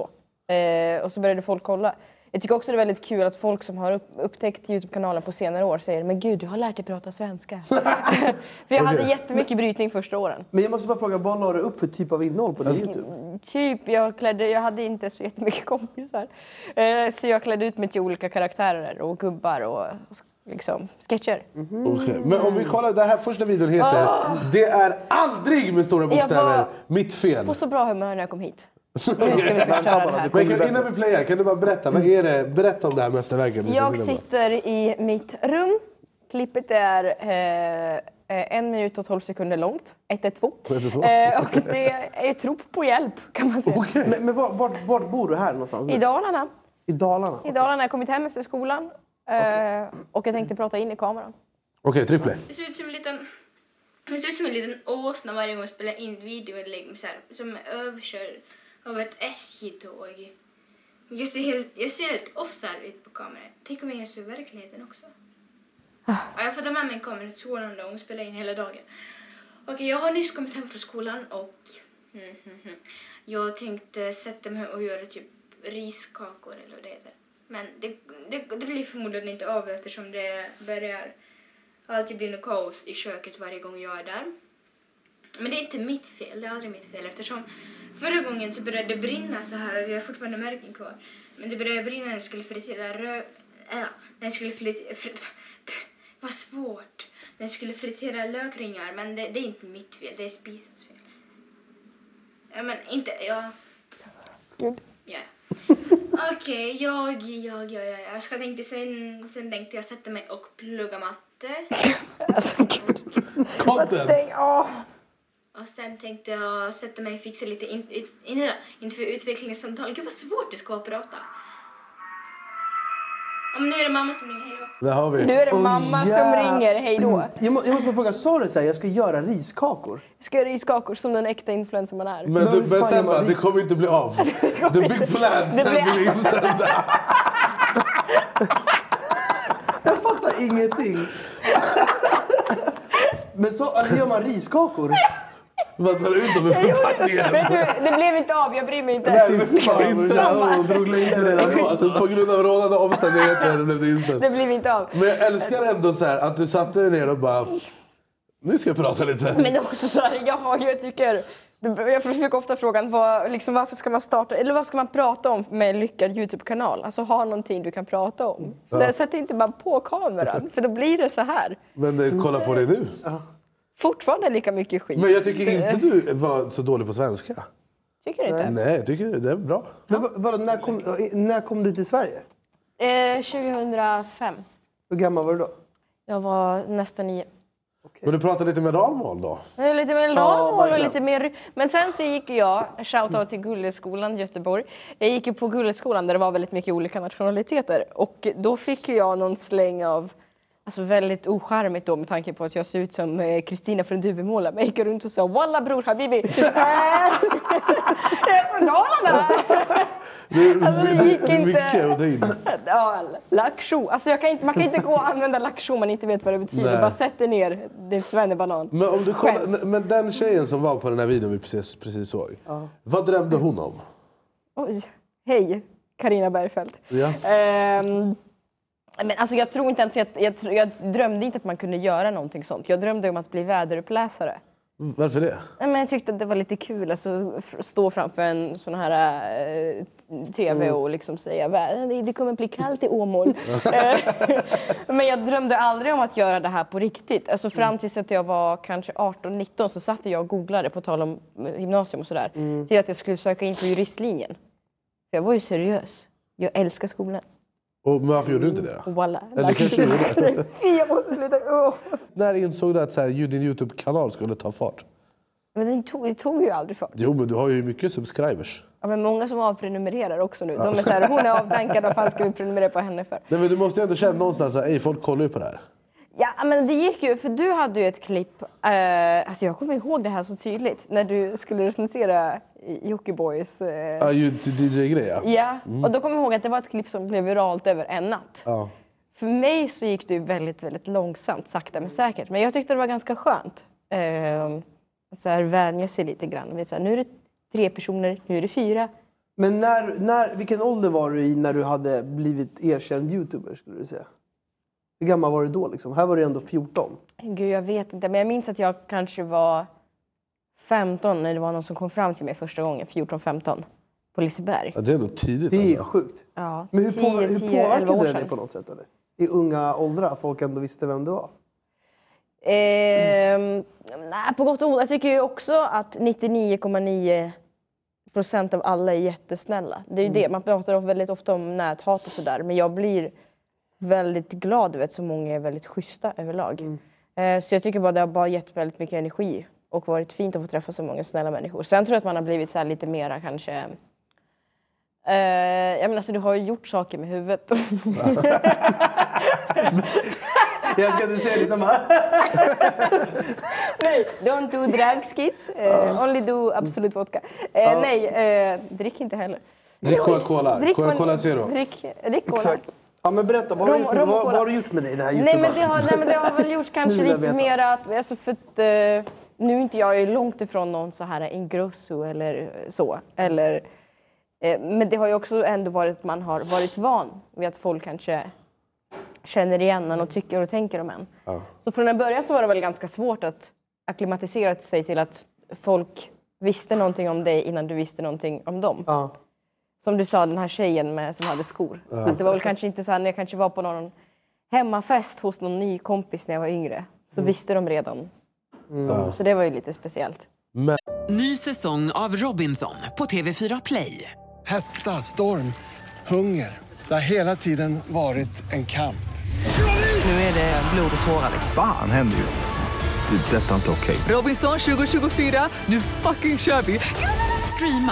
Eh, och så började folk kolla. Jag tycker också det är väldigt kul att folk som har upp, upptäckt Youtube-kanalen på senare år säger Men gud, du har lärt dig prata svenska. För jag hade Okej. jättemycket brytning första åren. Men jag måste bara fråga, vad la du upp för typ av innehåll på din Youtube? Typ, jag, klädde, jag hade inte så jättemycket kompisar. Eh, så jag klädde ut mig till olika karaktärer och gubbar och s- liksom, sketcher. Okej, Men om vi kollar, den här första videon heter Mm. Ah! Det är aldrig med stora Jag var- bokstäver mitt fel. På så bra humör när jag kom hit. Nu ska vi förstöra det här. Men kan, innan vi playar, kan du bara berätta, vad är det, berätta om det här mästerverket vi ska Jag titta på. sitter i mitt rum. Klippet är eh, eh, en minut och tolv sekunder långt. 112. Vad heter det så? Eh, och det är ett rop på hjälp kan man säga. Men, men var, var, var bor du här någonstans nu? I Dalarna. I Dalarna? I Dalarna. Jag har kommit hem efter skolan. Eh, Och jag tänkte prata in i kameran. Okej, tryck play. Det ser ut som en liten... Det ser ut som en liten åsna varje gång jag spelar in videoinlägg med så här, som är överkörd av ett SJ-tåg. Jag ser helt, jag ser helt offside ut på kameran. Tänk om jag gör så i verkligheten också. Ja, jag får ta med mig en kamera till skolan då och spela in hela dagen. Okej, jag har nyss kommit hem från skolan och mm, mm, mm. jag tänkte sätta mig och göra typ riskakor eller vad det heter. Men det, det, det blir förmodligen inte av eftersom det börjar alltid blir något kaos i köket varje gång jag är där. Men det är inte mitt fel, det är aldrig mitt fel eftersom förra gången så började det brinna så här och jag har fortfarande märken kvar. Men det började brinna när jag skulle fritera rö... Äh, när jag skulle fritera... Fri, pff, vad svårt! När jag skulle fritera lökringar men det, det är inte mitt fel, det är spisens fel. Ja men inte... Ja. Ja. Okej, jag, jag, jag, jag, jag ska tänkte sen, sen tänkte jag sätta mig och plugga matte. Content! Stäng av! Och sen tänkte jag sätta mig och fixa lite in, in, in, inför utvecklingssamtal. Gud vad svårt det ska vara att prata. Ja, men nu är det mamma som ringer, hej då. Där har vi. Nu är det mamma som ringer, hej då. Mm. Mm. Jag, må, jag måste bara fråga, sa du så här, jag ska göra riskakor? Ska jag i skakor som den äkta influencer man är. Men, du, men sen bara, man det kommer inte bli av. The big plans Det blir- sen blir inställda. Jag fattar ingenting. Men så eller gör man riskakor? Man tar ut dem i Jag gjorde- förpackningen. Vet du, det blev inte av, jag blir mig inte. Nej, men fan, vad det där- Samma. hon drog längre redan då. Alltså, på grund av rådande omständigheter blev det inställt. Det blev inte av. Men jag älskar ändå så här, att du satte dig ner och bara, nu ska jag prata lite. Men det är också så här, jag, har- jag tycker... Jag fick ofta frågan vad, liksom, varför ska man starta, eller vad ska man prata om med en lyckad Youtube-kanal? Alltså ha någonting du kan prata om. Ja. Så Sätt inte bara på kameran, för då blir det så här. Men eh, kolla på det nu. Fortfarande lika mycket skit. Men jag tycker Det- inte du var så dålig på svenska. Tycker du inte? Nej, jag tycker det är bra. Men vad, vad, när, kom, när kom du till Sverige? Eh, 2005. Hur gammal var du då? Jag var nästan nio. Men du pratar lite med dalmål då? Det är Lite mer Ja, långmål och verkligen. lite mer... Men sen så gick ju jag, shoutout till Gulleskolan i Göteborg. Jag gick ju på Gulleskolan där det var väldigt mycket olika nationaliteter och då fick ju jag någon släng av Alltså väldigt ocharmigt då med tanke på att jag ser ut som eh, Kristina från Duvemåla. Men jag gick runt och sa “Walla bror habibi!” Jag är från Dalarna! Det, Alltså, det det- gick det är mycket inte. att ta in. Ja, Laksho. Alltså jag kan inte, man kan inte gå och använda laksho om man inte vet vad det betyder. Nej. Bara sätt dig ner, din svennebanan. Men, om du Skäms. kollar, men den tjejen som var på den här videon vi precis, precis såg. Vad drömde hon om? Oj. Hej, Karina Bergfeldt. Ja. Ehm, men alltså jag tror inte ens jag, jag, tr- jag drömde inte att man kunde göra någonting sånt. Jag drömde om att bli väderuppläsare. Varför det? Nej, men jag tyckte att det var lite kul alltså, f- stå framför en sån här eh, t- tv och liksom säga "Vä- det- det kommer bli kallt i Åmål. Eh, men jag drömde aldrig om att göra det här på riktigt. Alltså, fram tills att jag var kanske 18-19 så satt jag och googlade på tal om eh, gymnasium och sådär. Till att jag skulle söka in på juristlinjen. För jag var ju seriös. Jag älskar skolan. Och varför gjorde du inte det då? Walla. Eller kanske du gjorde. Fy, jag måste sluta. Åh. När insåg du att så här, ju- din Youtube-kanal skulle ta fart? Men det tog, det tog ju aldrig fart. Jo, men du har ju mycket subscribers. Ja, men många som avprenumererar också nu. De Ja. är så här, hon är avdankad, vad fan ska vi prenumerera på henne för? Nej, men du måste ju ändå känna någonstans att "Ey, folk kollar ju på det här. Ja, men det gick ju, för du hade ju ett klipp, eh, alltså jag kommer ihåg det här så tydligt, när du skulle recensera Jockiboi. Eh, Ja, ju till DJ-grej ja. ja, Mm. och då kommer jag ihåg att det var ett klipp som blev viralt över en natt. Ja. För mig så gick det ju väldigt, väldigt långsamt, sakta men säkert. Men jag tyckte det var ganska skönt. Eh, att så här vänja sig lite grann. Vet, så här, nu är det tre personer, nu är det fyra. Men när, när, vilken ålder var du i när du hade blivit erkänd youtuber skulle du säga? Hur gammal var du då liksom? Här var du ändå 14. Gud, jag vet inte. Men jag minns att jag kanske var 15 när det var någon som kom fram till mig första gången, 14-15, på Liseberg. Ja, det är ändå tidigt Det är alltså. sjukt. Ja, Men hur, 10, på, hur 10, påverkade 11 år det dig sedan. på något sätt? Eller? I unga åldrar, att folk ändå visste vem du var? Ehm, nej, på gott och ont. Jag tycker ju också att 99,9 procent av alla är jättesnälla. Det är ju Mm. det. Man pratar of- väldigt ofta om näthat och sådär. Men jag blir väldigt glad över att så många är väldigt schyssta överlag. Mm. Eh, så jag tycker bara det har bara gett väldigt mycket energi och varit fint att få träffa så många snälla människor. Sen tror jag att man har blivit så här lite mera kanske... Eh, jag menar, alltså, du har ju gjort saker med huvudet. Jag ska inte säga det som här. nej, don't do drugs kids. Eh, only do absolut vodka. Eh, Ja. Nej, eh, drick inte heller. Drick Coca-Cola. Drick- Coca-Cola Zero. Drick, drick cola. Exakt. Ja, men berätta, vad har, Rom- du, gjort med, rom och vad, cola. vad har du gjort med dig i det här Nej men, det Youtube-bandet? har, nej men det har väl gjort kanske Nu vill jag lite veta. mer att, alltså för att eh, nu är inte jag, jag är långt ifrån någon så här Ingrosso eller så. Eller, eh, men det har ju också ändå varit att man har varit van vid att folk kanske känner igen en och tycker och tänker om en. Så från en början så var det väl ganska svårt att akklimatisera sig till att folk visste någonting om dig innan du visste någonting om dem. Som du sa, den här tjejen med, som hade skor. Ja. Att det var väl kanske inte så här, när jag kanske var på någon hemmafest hos någon ny kompis när jag var yngre så Mm. visste de redan. Ja. Så, så det var ju lite speciellt. Ny säsong av Robinson på TV4 Play. Hetta, storm, hunger. Det har hela tiden varit en kamp. Nu är det blod och tårar. liksom. Fan händer just det. Det är detta inte okej. Robinson 2024, nu fucking kör vi! Streama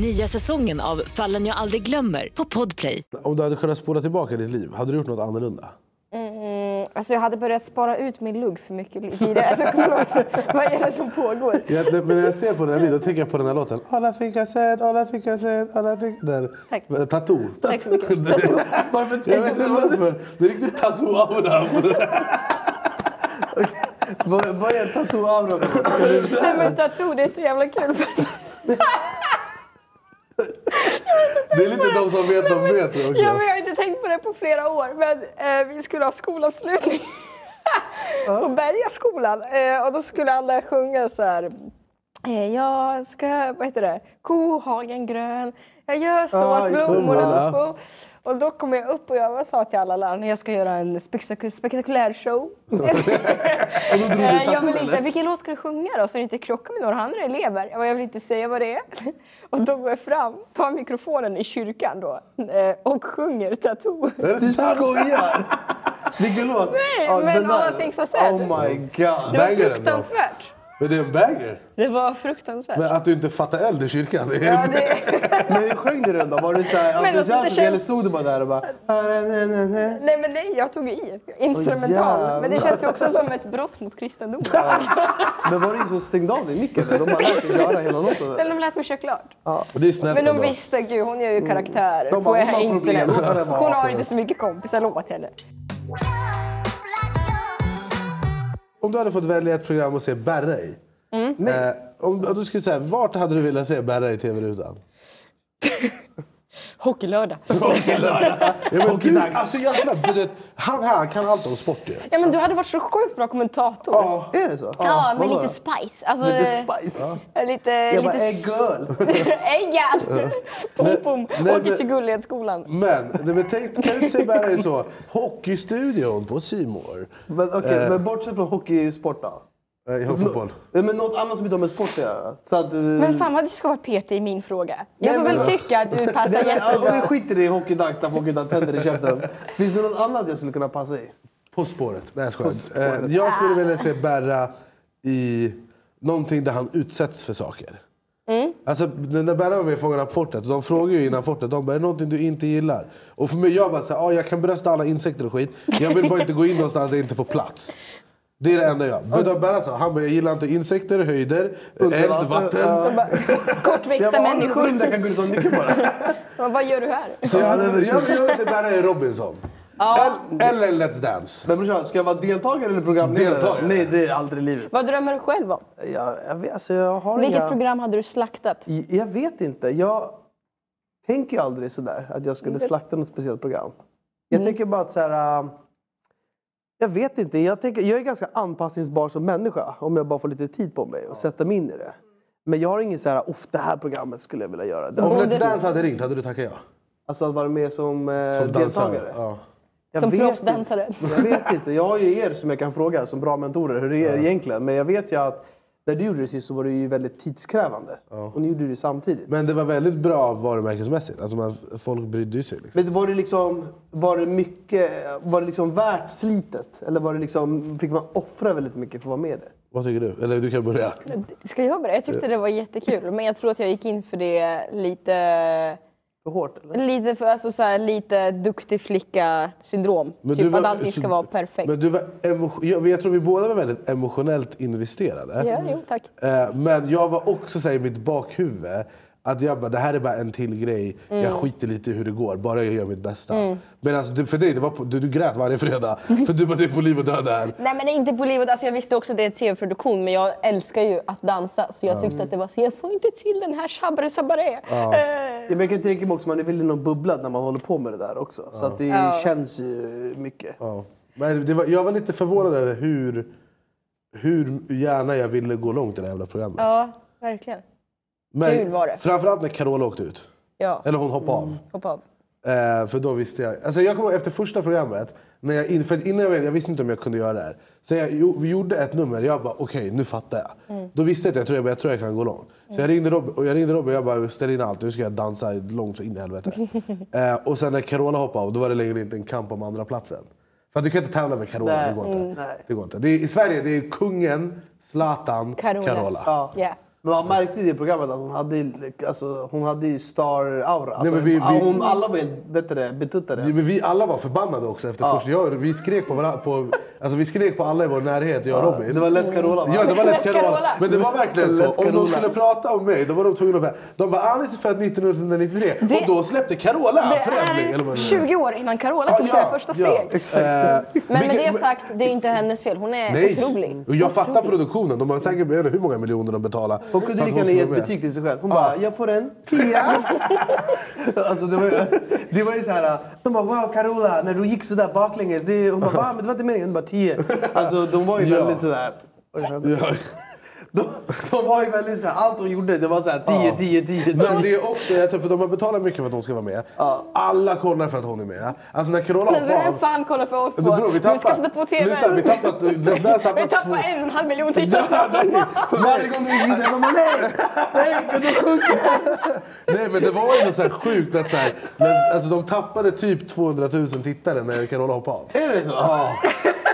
Nya säsongen av Fallen jag aldrig glömmer på Podplay. Om du hade kunnat spola tillbaka ditt liv, hade du gjort något annorlunda? Mm, alltså jag hade börjat spara ut min lugg för mycket tidigare. Alltså, förlåt, vad är det som pågår? Jag, men när jag ser på den här videon tänker jag på den här låten. All I think I said, all I think I said, all I think... Den, Tack. Tattoo. Tack så mycket. Tattoo. Varför tänkte du varför? Det är riktigt tattoo-aura på den här. Vad vad är en tatuering? Nej men tattoo, det är så jävla kul. Det är lite de som vet, de vet det Ja, också. men jag har inte tänkt på det på flera år, men eh, vi skulle ha skolavslutning på Bergaskolan eh, och då skulle alla sjunga så här. Eh, jag ska, vad heter det, kohagen grön, jag gör så Ja, att just det, blommorna voilà. upp och, och då kom jag upp och jag sa till alla lärare, jag ska göra en spektak- spektakulär show. Eh, jag vill inte, vilken låt ska du sjunga då så det inte krockar med några andra elever? Jag, bara, jag vill inte säga vad det är. Och då går jag fram, tar mikrofonen i kyrkan då eh, och sjunger Tattoo. Du skojar! Vilken låt? Nej, Ja, men den alla där. things I said. Oh my god. Det var fruktansvärt. Men det är en banger. Det var fruktansvärt. Men att du inte fattar eld i kyrkan. Det är Ja, det, Men hur sjöng du den då? Var du så här Men alltså, det entusiastisk känns- eller stod du bara där och bara... nej men nej, jag tog i. Instrumental. jävlar. men det känns ju också som ett brott mot kristendomen. Men var det ingen som stängde av dig i micken? eller? De bara lät dig köra hela låten. Men de lät mig köra klart. Ja. Det är snällt Men de ändå. visste, gud hon gör ju karaktär De på bara, hon har problem. internet. Låt henne vara. Hon har inte så mycket kompisar, låt henne. Om du hade fått välja ett program att se Berra i. Eh, om om du skulle säga, vart hade du velat se Berra i tv-rutan? Hockeylördag. Hockeylördag. Ja, men du, Hockeydags. alltså, jag svär, du vet, han här kan allt om sport ju. Ja men du hade varit så sjukt bra kommentator. Ja, Är det så? ja med lite spice. Alltså, Lite spice. eh, Lite... Jag bara, lite "Hey, girl." Äggan! Pom pom, Nej, åker men- till Gullhetsskolan. Men, nej, men tänk, kan du inte se Berra i så? Hockeystudion på C More. Men okej, Eh. men bortsett från hockeysport då? Jag har fotboll. Nej, Men något annat som inte har med sport att göra. Så att, eh, Men fan vad du ska vara PT i min fråga. Jag Nej, får men- väl tycka att du passar Nej, men, Om vi jättebra. skiter i hockeydags där folk inte har tänder i käften. Finns det något annat jag skulle kunna passa i? På spåret. Nej, jag På skojar. spåret. Ah. Eh, Jag skulle vilja se Berra i någonting där han utsätts för saker. Mm. Alltså när Berra var med i Fångarna på fortet, de frågar ju innan fortet, de bara är det någonting du inte gillar? Och för mig, jag bara såhär, ah, jag kan brösta alla insekter och skit. Jag vill bara inte gå in någonstans där jag inte får plats. Det är det enda jag... Men då Berra sa, han bara, jag gillar inte insekter, höjder, eld, vatten. Jag Kortväxta bara, "Har du något människor. rum där jag kan gå ut och nicka på det? Men Vad gör du här? Så jag, jag, jag vill se Berra i Robinson. Eller- Eller Let's Dance. Men brorsan, ska jag vara deltagare eller programledare? Deltagare. Nej, det är aldrig i livet. Vad drömmer du själv om? Jag, jag, vet- alltså, jag har Vilket inga... program hade du slaktat? J- Jag vet inte. Jag tänker ju aldrig sådär att jag Mm, skulle slakta något speciellt program. Jag tänker bara att så här, äh, Jag vet inte. Jag, tänker, jag är ganska anpassningsbar som människa om jag bara får lite tid på mig och sätta mig in i det. Men jag har ingen så här, off det här programmet skulle jag vilja göra. Det Om hade- Let's Dance hade ringt, hade du tackat ja? Alltså att vara med som, eh, Som dansare, deltagare. ja. Jag Som vet proffsdansare? inte. Jag vet inte. Jag har ju er som jag kan fråga som bra mentorer hur det är egentligen. Men jag vet ju att när du gjorde det sist så var det ju väldigt tidskrävande. Och ni gjorde det samtidigt. Men det var väldigt bra varumärkesmässigt. Alltså man, folk brydde sig. Liksom. Men var det liksom, var det mycket, var det liksom värt slitet? Eller var det liksom, fick man offra väldigt mycket för att vara med i det? Vad tycker du? Eller du kan börja. Ska jag börja? Jag tyckte Eh. det var jättekul, men jag tror att jag gick in för det lite... För hårt eller? Lite, för, alltså, så här, lite duktig flicka-syndrom. Men du typ att var- allting ska så- vara perfekt. Men du var emo- jag, jag tror vi båda var väldigt emotionellt investerade. Ja, jo, tack. Eh, Men jag var också så här, i mitt bakhuvud att jag bara, det här är bara en till grej. Mm. Jag skiter lite i hur det går, bara jag gör mitt bästa. Mm. Men alltså, det- för dig, det var på, du, du grät varje fredag. För du bara, det är på liv och död här. Nej men inte på livet. Alltså, jag visste också att det är tv-produktion men jag älskar ju att dansa så jag Ja. tyckte att det var så jag får inte till den här Shabbare Sabare. Ja. men jag kan tänka mig också, man är väl i någon bubbla när man håller på med det där också. Så att det Ja. känns ju mycket. Ja. Men det var, jag var lite förvånad över hur, hur gärna jag ville gå långt i det här jävla programmet. Ja, verkligen. Men Kul var det. Framförallt när Carola åkte ut. Ja, Eller hon hoppade av. hoppa av. Eh, för då visste jag. Alltså jag kommer ihåg efter första programmet, när jag, in- för innan jag, vet- jag visste inte om jag kunde göra det här. Så jag, jo, vi gjorde ett nummer, jag bara okej nu fattar jag. Mm. Då visste jag att jag tror jag, bara, jag, tror jag kan gå långt. Så jag ringde Robin och jag ringde Robin, jag bara ställ in allt, nu ska jag dansa långt så in i helvete. eh, och sen när Carola hoppade av, då var det längre inte en kamp om andra platsen. För att du kan inte tävla med Carola, det går Mm. inte. Mm. Det går inte. Det är, I Sverige det är kungen, Zlatan, Carola. Ja. Men man märkte i det programmet att hon hade, alltså, hon hade ju star-aura. Alltså, men vi- vi- hon, alla var helt vet du det, betuttade. Ja, men vi alla var förbannade också efter Ja. första. Jag, vi, skrek på varandra, på, alltså vi skrek på alla i vår närhet, jag och Ja, Robin. det var Let's Carola, va? Ja, det var Let's Let's Carola. Carola. Men det var verkligen så. Let's Om de Carola. skulle prata om mig, då var de tvungna att... De bara “Alice är född 1993” och då släppte Carola Det förändring. Eller vad är det nu är. 20 år innan Carola tog sina första ja, steg. exakt. Eh, Men med vilket- det sagt, det är ju inte hennes fel. Hon är Nej. otrolig. Och jag fattar Otrolig. produktionen. De har säkert, jag vet inte hur många miljoner de betalar. Hon kunde lika gärna ge ett betyg till sig själv. Hon bara, jag får en tia. alltså, det, var ju, det var ju så här, de bara wow Carola, när du gick sådär baklänges. Det, hon bara va, men det var inte meningen. Hon bara tio. Alltså de var ju Ja. väldigt sådär. Oj, vänta. De, de var ju väldigt såhär, allt hon gjorde det var såhär tio, tio, tio. Men det är också, jag tror för de har betalat mycket för att hon ska vara med. Alla kollar för att hon är med. Alltså när Carola Men hoppade vem av... fan kollar för oss Det två? beror, vi Du ska tappar- sätta på TV. Lyssna, vi tappat- vi har tappat två- Vi tappar en och en halv miljon Ja, nej. tittare. Så varje gång du gick vidare, de bara, nej, nej, gud, de sjunker. Nej men det var ändå så här sjukt att så här, men, alltså, de tappade typ 200 000 tittare när Carola hoppade av. Är det så? Ja.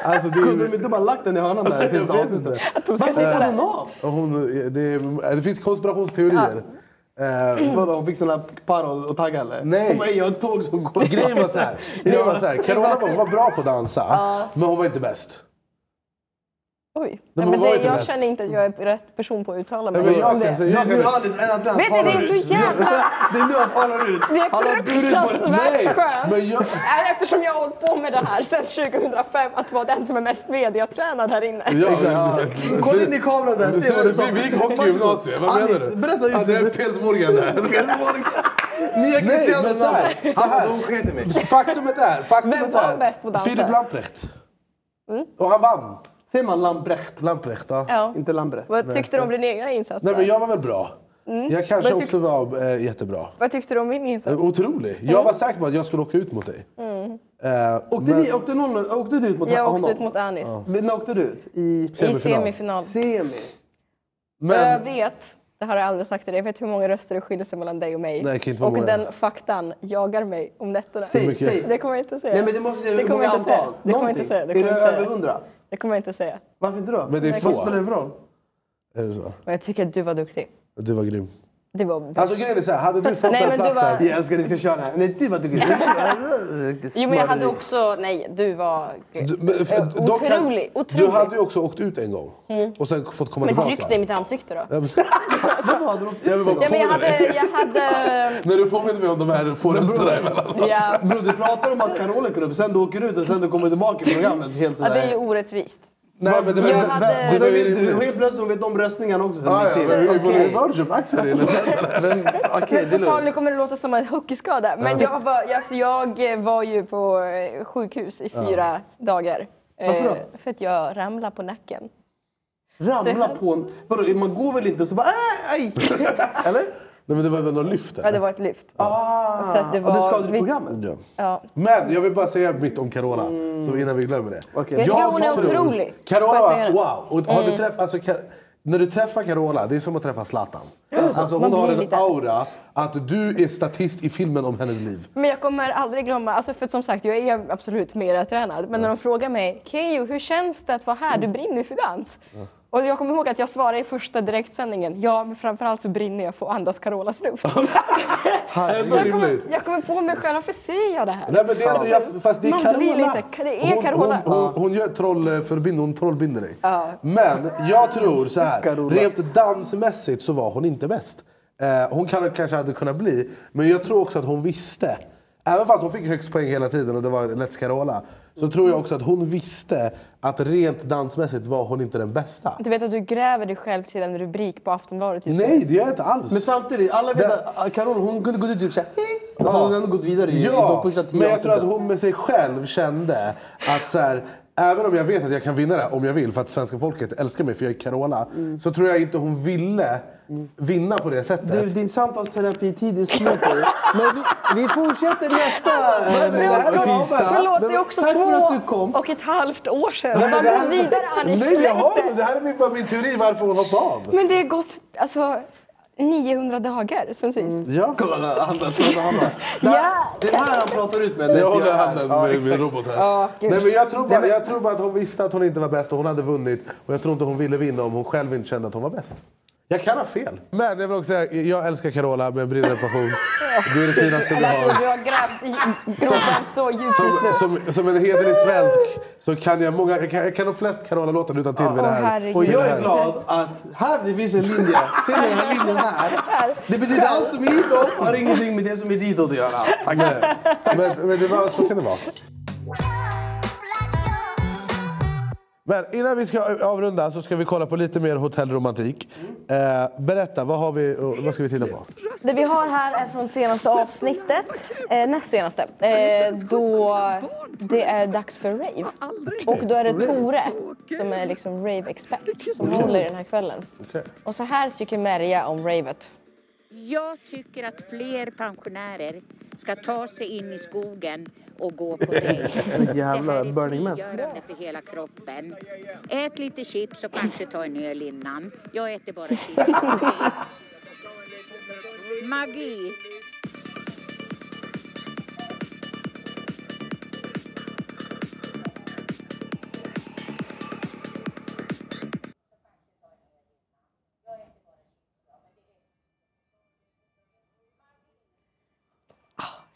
Alltså, det är Kunde de inte bara lagt den i hörnan där i sista avsnittet? Varför hoppade hon av? Hon, det, är- det finns konspirationsteorier. Eh, Vadå, hon fick sån där parod och tagga eller? Nej. Hon bara, jag har ett tåg som går. Grejen var så här, grejen var så här Carola var, hon var bra på att dansa, Ja. men hon var inte bäst. Oj. men Nej, hon men var det, inte jag bäst. känner inte att jag är rätt person på att uttala mig Nej, men jag om kan det. säga- jag kan- Nu har Alice en atlant Vet ni, det är talar ut. så jävla... Det är nu han talar ut. Det Han är har burit på- Nej, fruktansvärt skönt. men jag- Nej, Eftersom jag har hållit på med det här sedan 2005, att vara den som är mest mediatränad här inne. Ja, Exakt. men- Kolla in i kameran där, se vad du sa. Vi- Vi gick hockeygymnasium, vad menar Alice, du? berätta ut. Ja, det är Pels Morgan där. Pels Morgan. Nya Cristiano Nej, men så här, Ronaldo. så här. Hon sket i mig. Faktumet är, Vem faktumet var är bäst på att dansa? Filip Lamprecht. Och han vann. Säger man Lambrecht? Lamprecht, ja. Ja. Inte Lambrecht. Vad tyckte du om din egna insats? Nej då? men jag var väl bra. Mm. Jag kanske Vad tyck- också var eh, jättebra. Vad tyckte du om min insats? Otrolig. Jag var säker på att jag skulle åka ut mot dig. Mm. Eh, Åkte, men- ni, åkte, någon, åkte du ut mot Jag honom? åkte ut mot Anis. Men När åkte du ut? I I semifinal. Semi. Men... Jag vet, det har jag aldrig sagt till dig, jag vet hur många röster det skiljer sig mellan dig och mig. Nej, det kan inte vara och många. den faktan jagar mig om nätterna. Säg, Hur mycket? säg. Det kommer jag inte säga. Nej men du måste säga Det hur kommer många jag inte säga. antal. Det kommer jag Någonting. inte säga. Det är kommer det jag inte säga. över hundra? Det kommer jag inte säga. Varför inte då? Men det är få. Vad spelar det för roll? Är det så? Men jag tycker att du var duktig. Du var grym. Det var... Alltså grejen är så här, hade du fått Nej, den men du platsen... var- Jag älskar att ni ska köra här. Nej, du var Jo men jag hade också, nej du var Du, men, för- Eh, de kan- otrolig. Du otrolig. hade ju också åkt ut en gång Mm. och sen fått komma Men tillbaka. tryck dig i mitt ansikte då. Ja, men- Vadå, hade du åkt ut? Jag vill bara Ja, men jag påminna hade, dig. jag hade När du påminner mig om de här få rösterna emellan. så- Ja. Bror, du pratar om att Carola går upp, sen du åker ut och sen du kommer tillbaka i programmet helt Ja, sådär. det är ju orättvist. Nej, men det var- jag det- hade... det- Och sen det- vill du, helt plötsligt hon vet om röstningarna också. hur Ja, det gick ja, till. men vi var Okej. i Vargem, Axel eller? Vem- Okej, det är På tal, lugnt. nu kommer det låta som en hockeyskada, men Ja. jag, var, jag, alltså, jag var ju på eh, sjukhus i Ja. fyra dagar. Eh, Varför då? För att jag ramlade på nacken. Ramla Så- på en... Vadå, man går väl inte och så bara äh, aj? Eller? Nej men det var väl något lyft? Ja, det var ett lyft. Ah, Så att det var... ja, det skadade vi- programmet. Ja. Ja. Men jag vill bara säga mitt om Carola, så innan vi glömmer det. Jag tycker hon är otrolig. Carola, Får jag säga det? wow! Och har du Mm. träff, alltså, Ka- när du träffar Carola, det är som att träffa Zlatan. Är det så? Alltså, hon Man har blir en lite- aura att du är statist i filmen om hennes liv. Men jag kommer aldrig glömma, alltså för att som sagt jag är absolut mer tränad. Men när de frågar mig, Keyyo hur känns det att vara här? Du brinner ju för dans. Och jag kommer ihåg att jag svarade i första direktsändningen, ja men framförallt så brinner jag för att andas Carolas luft. Ändå rimligt. jag kommer på mig själv, varför säger jag det här? Nej men det är ändå, jag, fast det är Man Carola. Blir lite, det är hon, Carola. Hon, hon, hon gör trollförbind, hon trollbinder dig. Ja. Men jag tror så här. rent dansmässigt så var hon inte bäst. Eh, hon kan, kanske hade kunnat bli, men jag tror också att hon visste. Även fast hon fick högst poäng hela tiden och det var Let's Carola. Så tror jag också att hon visste att rent dansmässigt var hon inte den bästa. Du vet att du gräver dig själv till en rubrik på Aftonbladet just nu. Nej, det gör jag inte alls. Men samtidigt, alla vet att Carola hon kunde gått ut typ såhär hej! Och så Ja. hade hon ändå gått vidare i, i de första tio men jag tror att avsnitten. hon med sig själv kände att så här, även om jag Mm. vet att jag kan vinna det här om jag vill för att svenska folket älskar mig för jag är Carola. Så tror jag inte hon ville vinna på det sättet. Du, din samtalsterapitid är slut nu. Men vi, vi fortsätter nästa eh, Men det var- måndag och tisdag. Förlåt, det är också Tack för att två du kom. och ett halvt år sedan. Nej, men Man det går här- vidare Ann, i Nej, jag har, slutet. det här är min- bara min teori varför hon hoppade av. Men det har gått alltså, 900 dagar sen sist. Ja, kolla han han- han bara. Ja. Det är här han pratar ut med. Jag det är inte håller här. handen Ja, med min exakt. robot här. Ja, gud. Nej, men jag, tror Nej, bara, men- jag tror bara att hon visste att hon inte var bäst och hon hade vunnit. Och jag tror inte hon ville vinna om hon själv inte kände att hon var bäst. Jag kan ha fel. Men jag vill också säga, jag älskar Carola med brinnande passion. Du är det finaste vi Alltså, har. Du har grävt i gropen så djupt just Som, nu. som, som en hederlig svensk så kan jag, många, jag, kan, jag kan de flesta Carola-låtar utan till med det Åh, här. herregud. Och jag är glad att här det finns en linje. Ser ni den här linjen här? Det betyder allt som är hitåt har ingenting med det som är ditåt att göra. Tack. Men, men det var, så kan det vara. Men innan vi ska avrunda så ska vi kolla på lite mer hotellromantik. Eh, berätta, vad, har vi, och vad ska vi titta på? Det vi har här är från senaste avsnittet, eh, näst senaste, eh, då det är dags för rave. Och då är det Tore som är liksom rave-expert som håller i den här kvällen. Och så här tycker Merja om ravet. Jag tycker att fler pensionärer ska ta sig in i skogen och gå på dejt. Jävla Burning Man. Görande för hela kroppen. Ät lite chips och kanske ta en öl innan. Jag äter bara chips. Magi!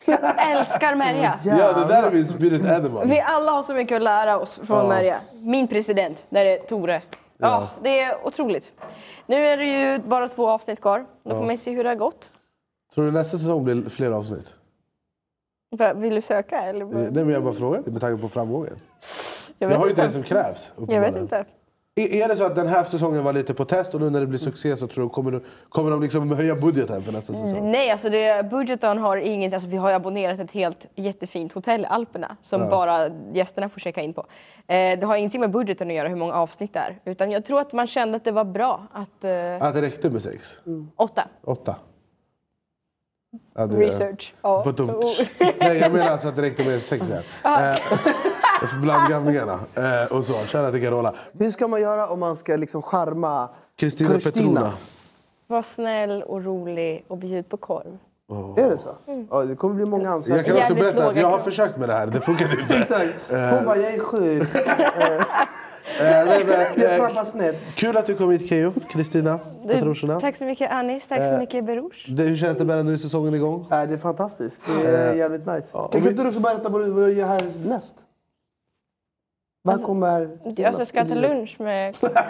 Jag älskar Merja! Ja, det där är min spirit animal. Vi alla har så mycket att lära oss från Ja. Merja. Min president, där är Tore. Ja, Ja. det är otroligt. Nu är det ju bara två avsnitt kvar. Då får Ja. man se hur det har gått. Tror du nästa säsong blir fler avsnitt? Va- Vill du söka eller? Eh, Nej, men jag bara frågar med tanke på framgången. Jag Jag, vet har ju inte det inte. som krävs. Jag vet uppenbarligen. inte. Är är det så att den här säsongen var lite på test och nu när det blir succé så tror du, kommer, du, kommer de liksom höja budgeten för nästa säsong? Nej, alltså det, budgeten har inget. Alltså vi har ju abonnerat ett helt jättefint hotell, Alperna, som Ja. bara gästerna får checka in på. Eh, det har ingenting med budgeten att göra hur många avsnitt det är. Utan jag tror att man kände att det var bra att... Eh, Att det räckte med sex? åtta. Åtta? Ja, det- Research. Ja. På dumt. Nej, jag menar alltså att det räckte med sex här. Ja. Bland gamlingarna. Eh, och så. Tjena till Carola. Hur ska man göra om man ska liksom charma Kristina Petrona. Var snäll och rolig och bjud på korv. Är det så? Mm. Ja, det kommer bli många ansökningar. Jag kan också Jävligt berätta att låga jag har krav. försökt med det här. Det funkade inte. Exakt. Hon bara, jag är sjuk. Eh, men, men, Jag eh, trampar snett. Kul att du kom hit Keyyo, Kristina Petrushina. Tack så mycket Anis, tack så Eh, mycket Berouche. Det- Hur känns det med nu är säsongen igång? Nej, det är fantastiskt. Det är Eh, jävligt nice. och kan vi- inte du också berätta vad du vad du gör härnäst? Vad kommer... Jag Alltså, ska äta lunch med... eh, Ja,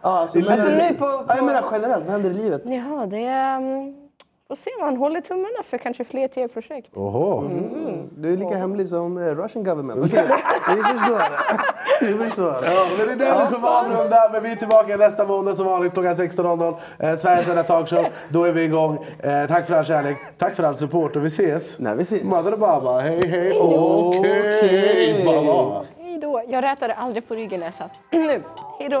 alltså, Alltså, men- nu på- Ja, jag menar generellt, vad händer i livet? Jaha, det är... Um, får se, man håller tummarna för kanske fler tv-projekt. Oho. Mm. Du är lika hemlig som eh, Russian government. Okej, vi förstår. Vi förstår. Ja, men det är där vi kommer avrunda. Men vi är tillbaka nästa måndag som vanligt klockan 16.00. Eh, Sveriges enda talkshow. Då är vi igång. Eh, tack för all kärlek. Tack för all support och vi ses. När vi ses. Mother Baba. Hej hej. Okej. Okej. Baba. Hej då. Jag rätade aldrig på ryggen när jag satt. Nu. Hej då.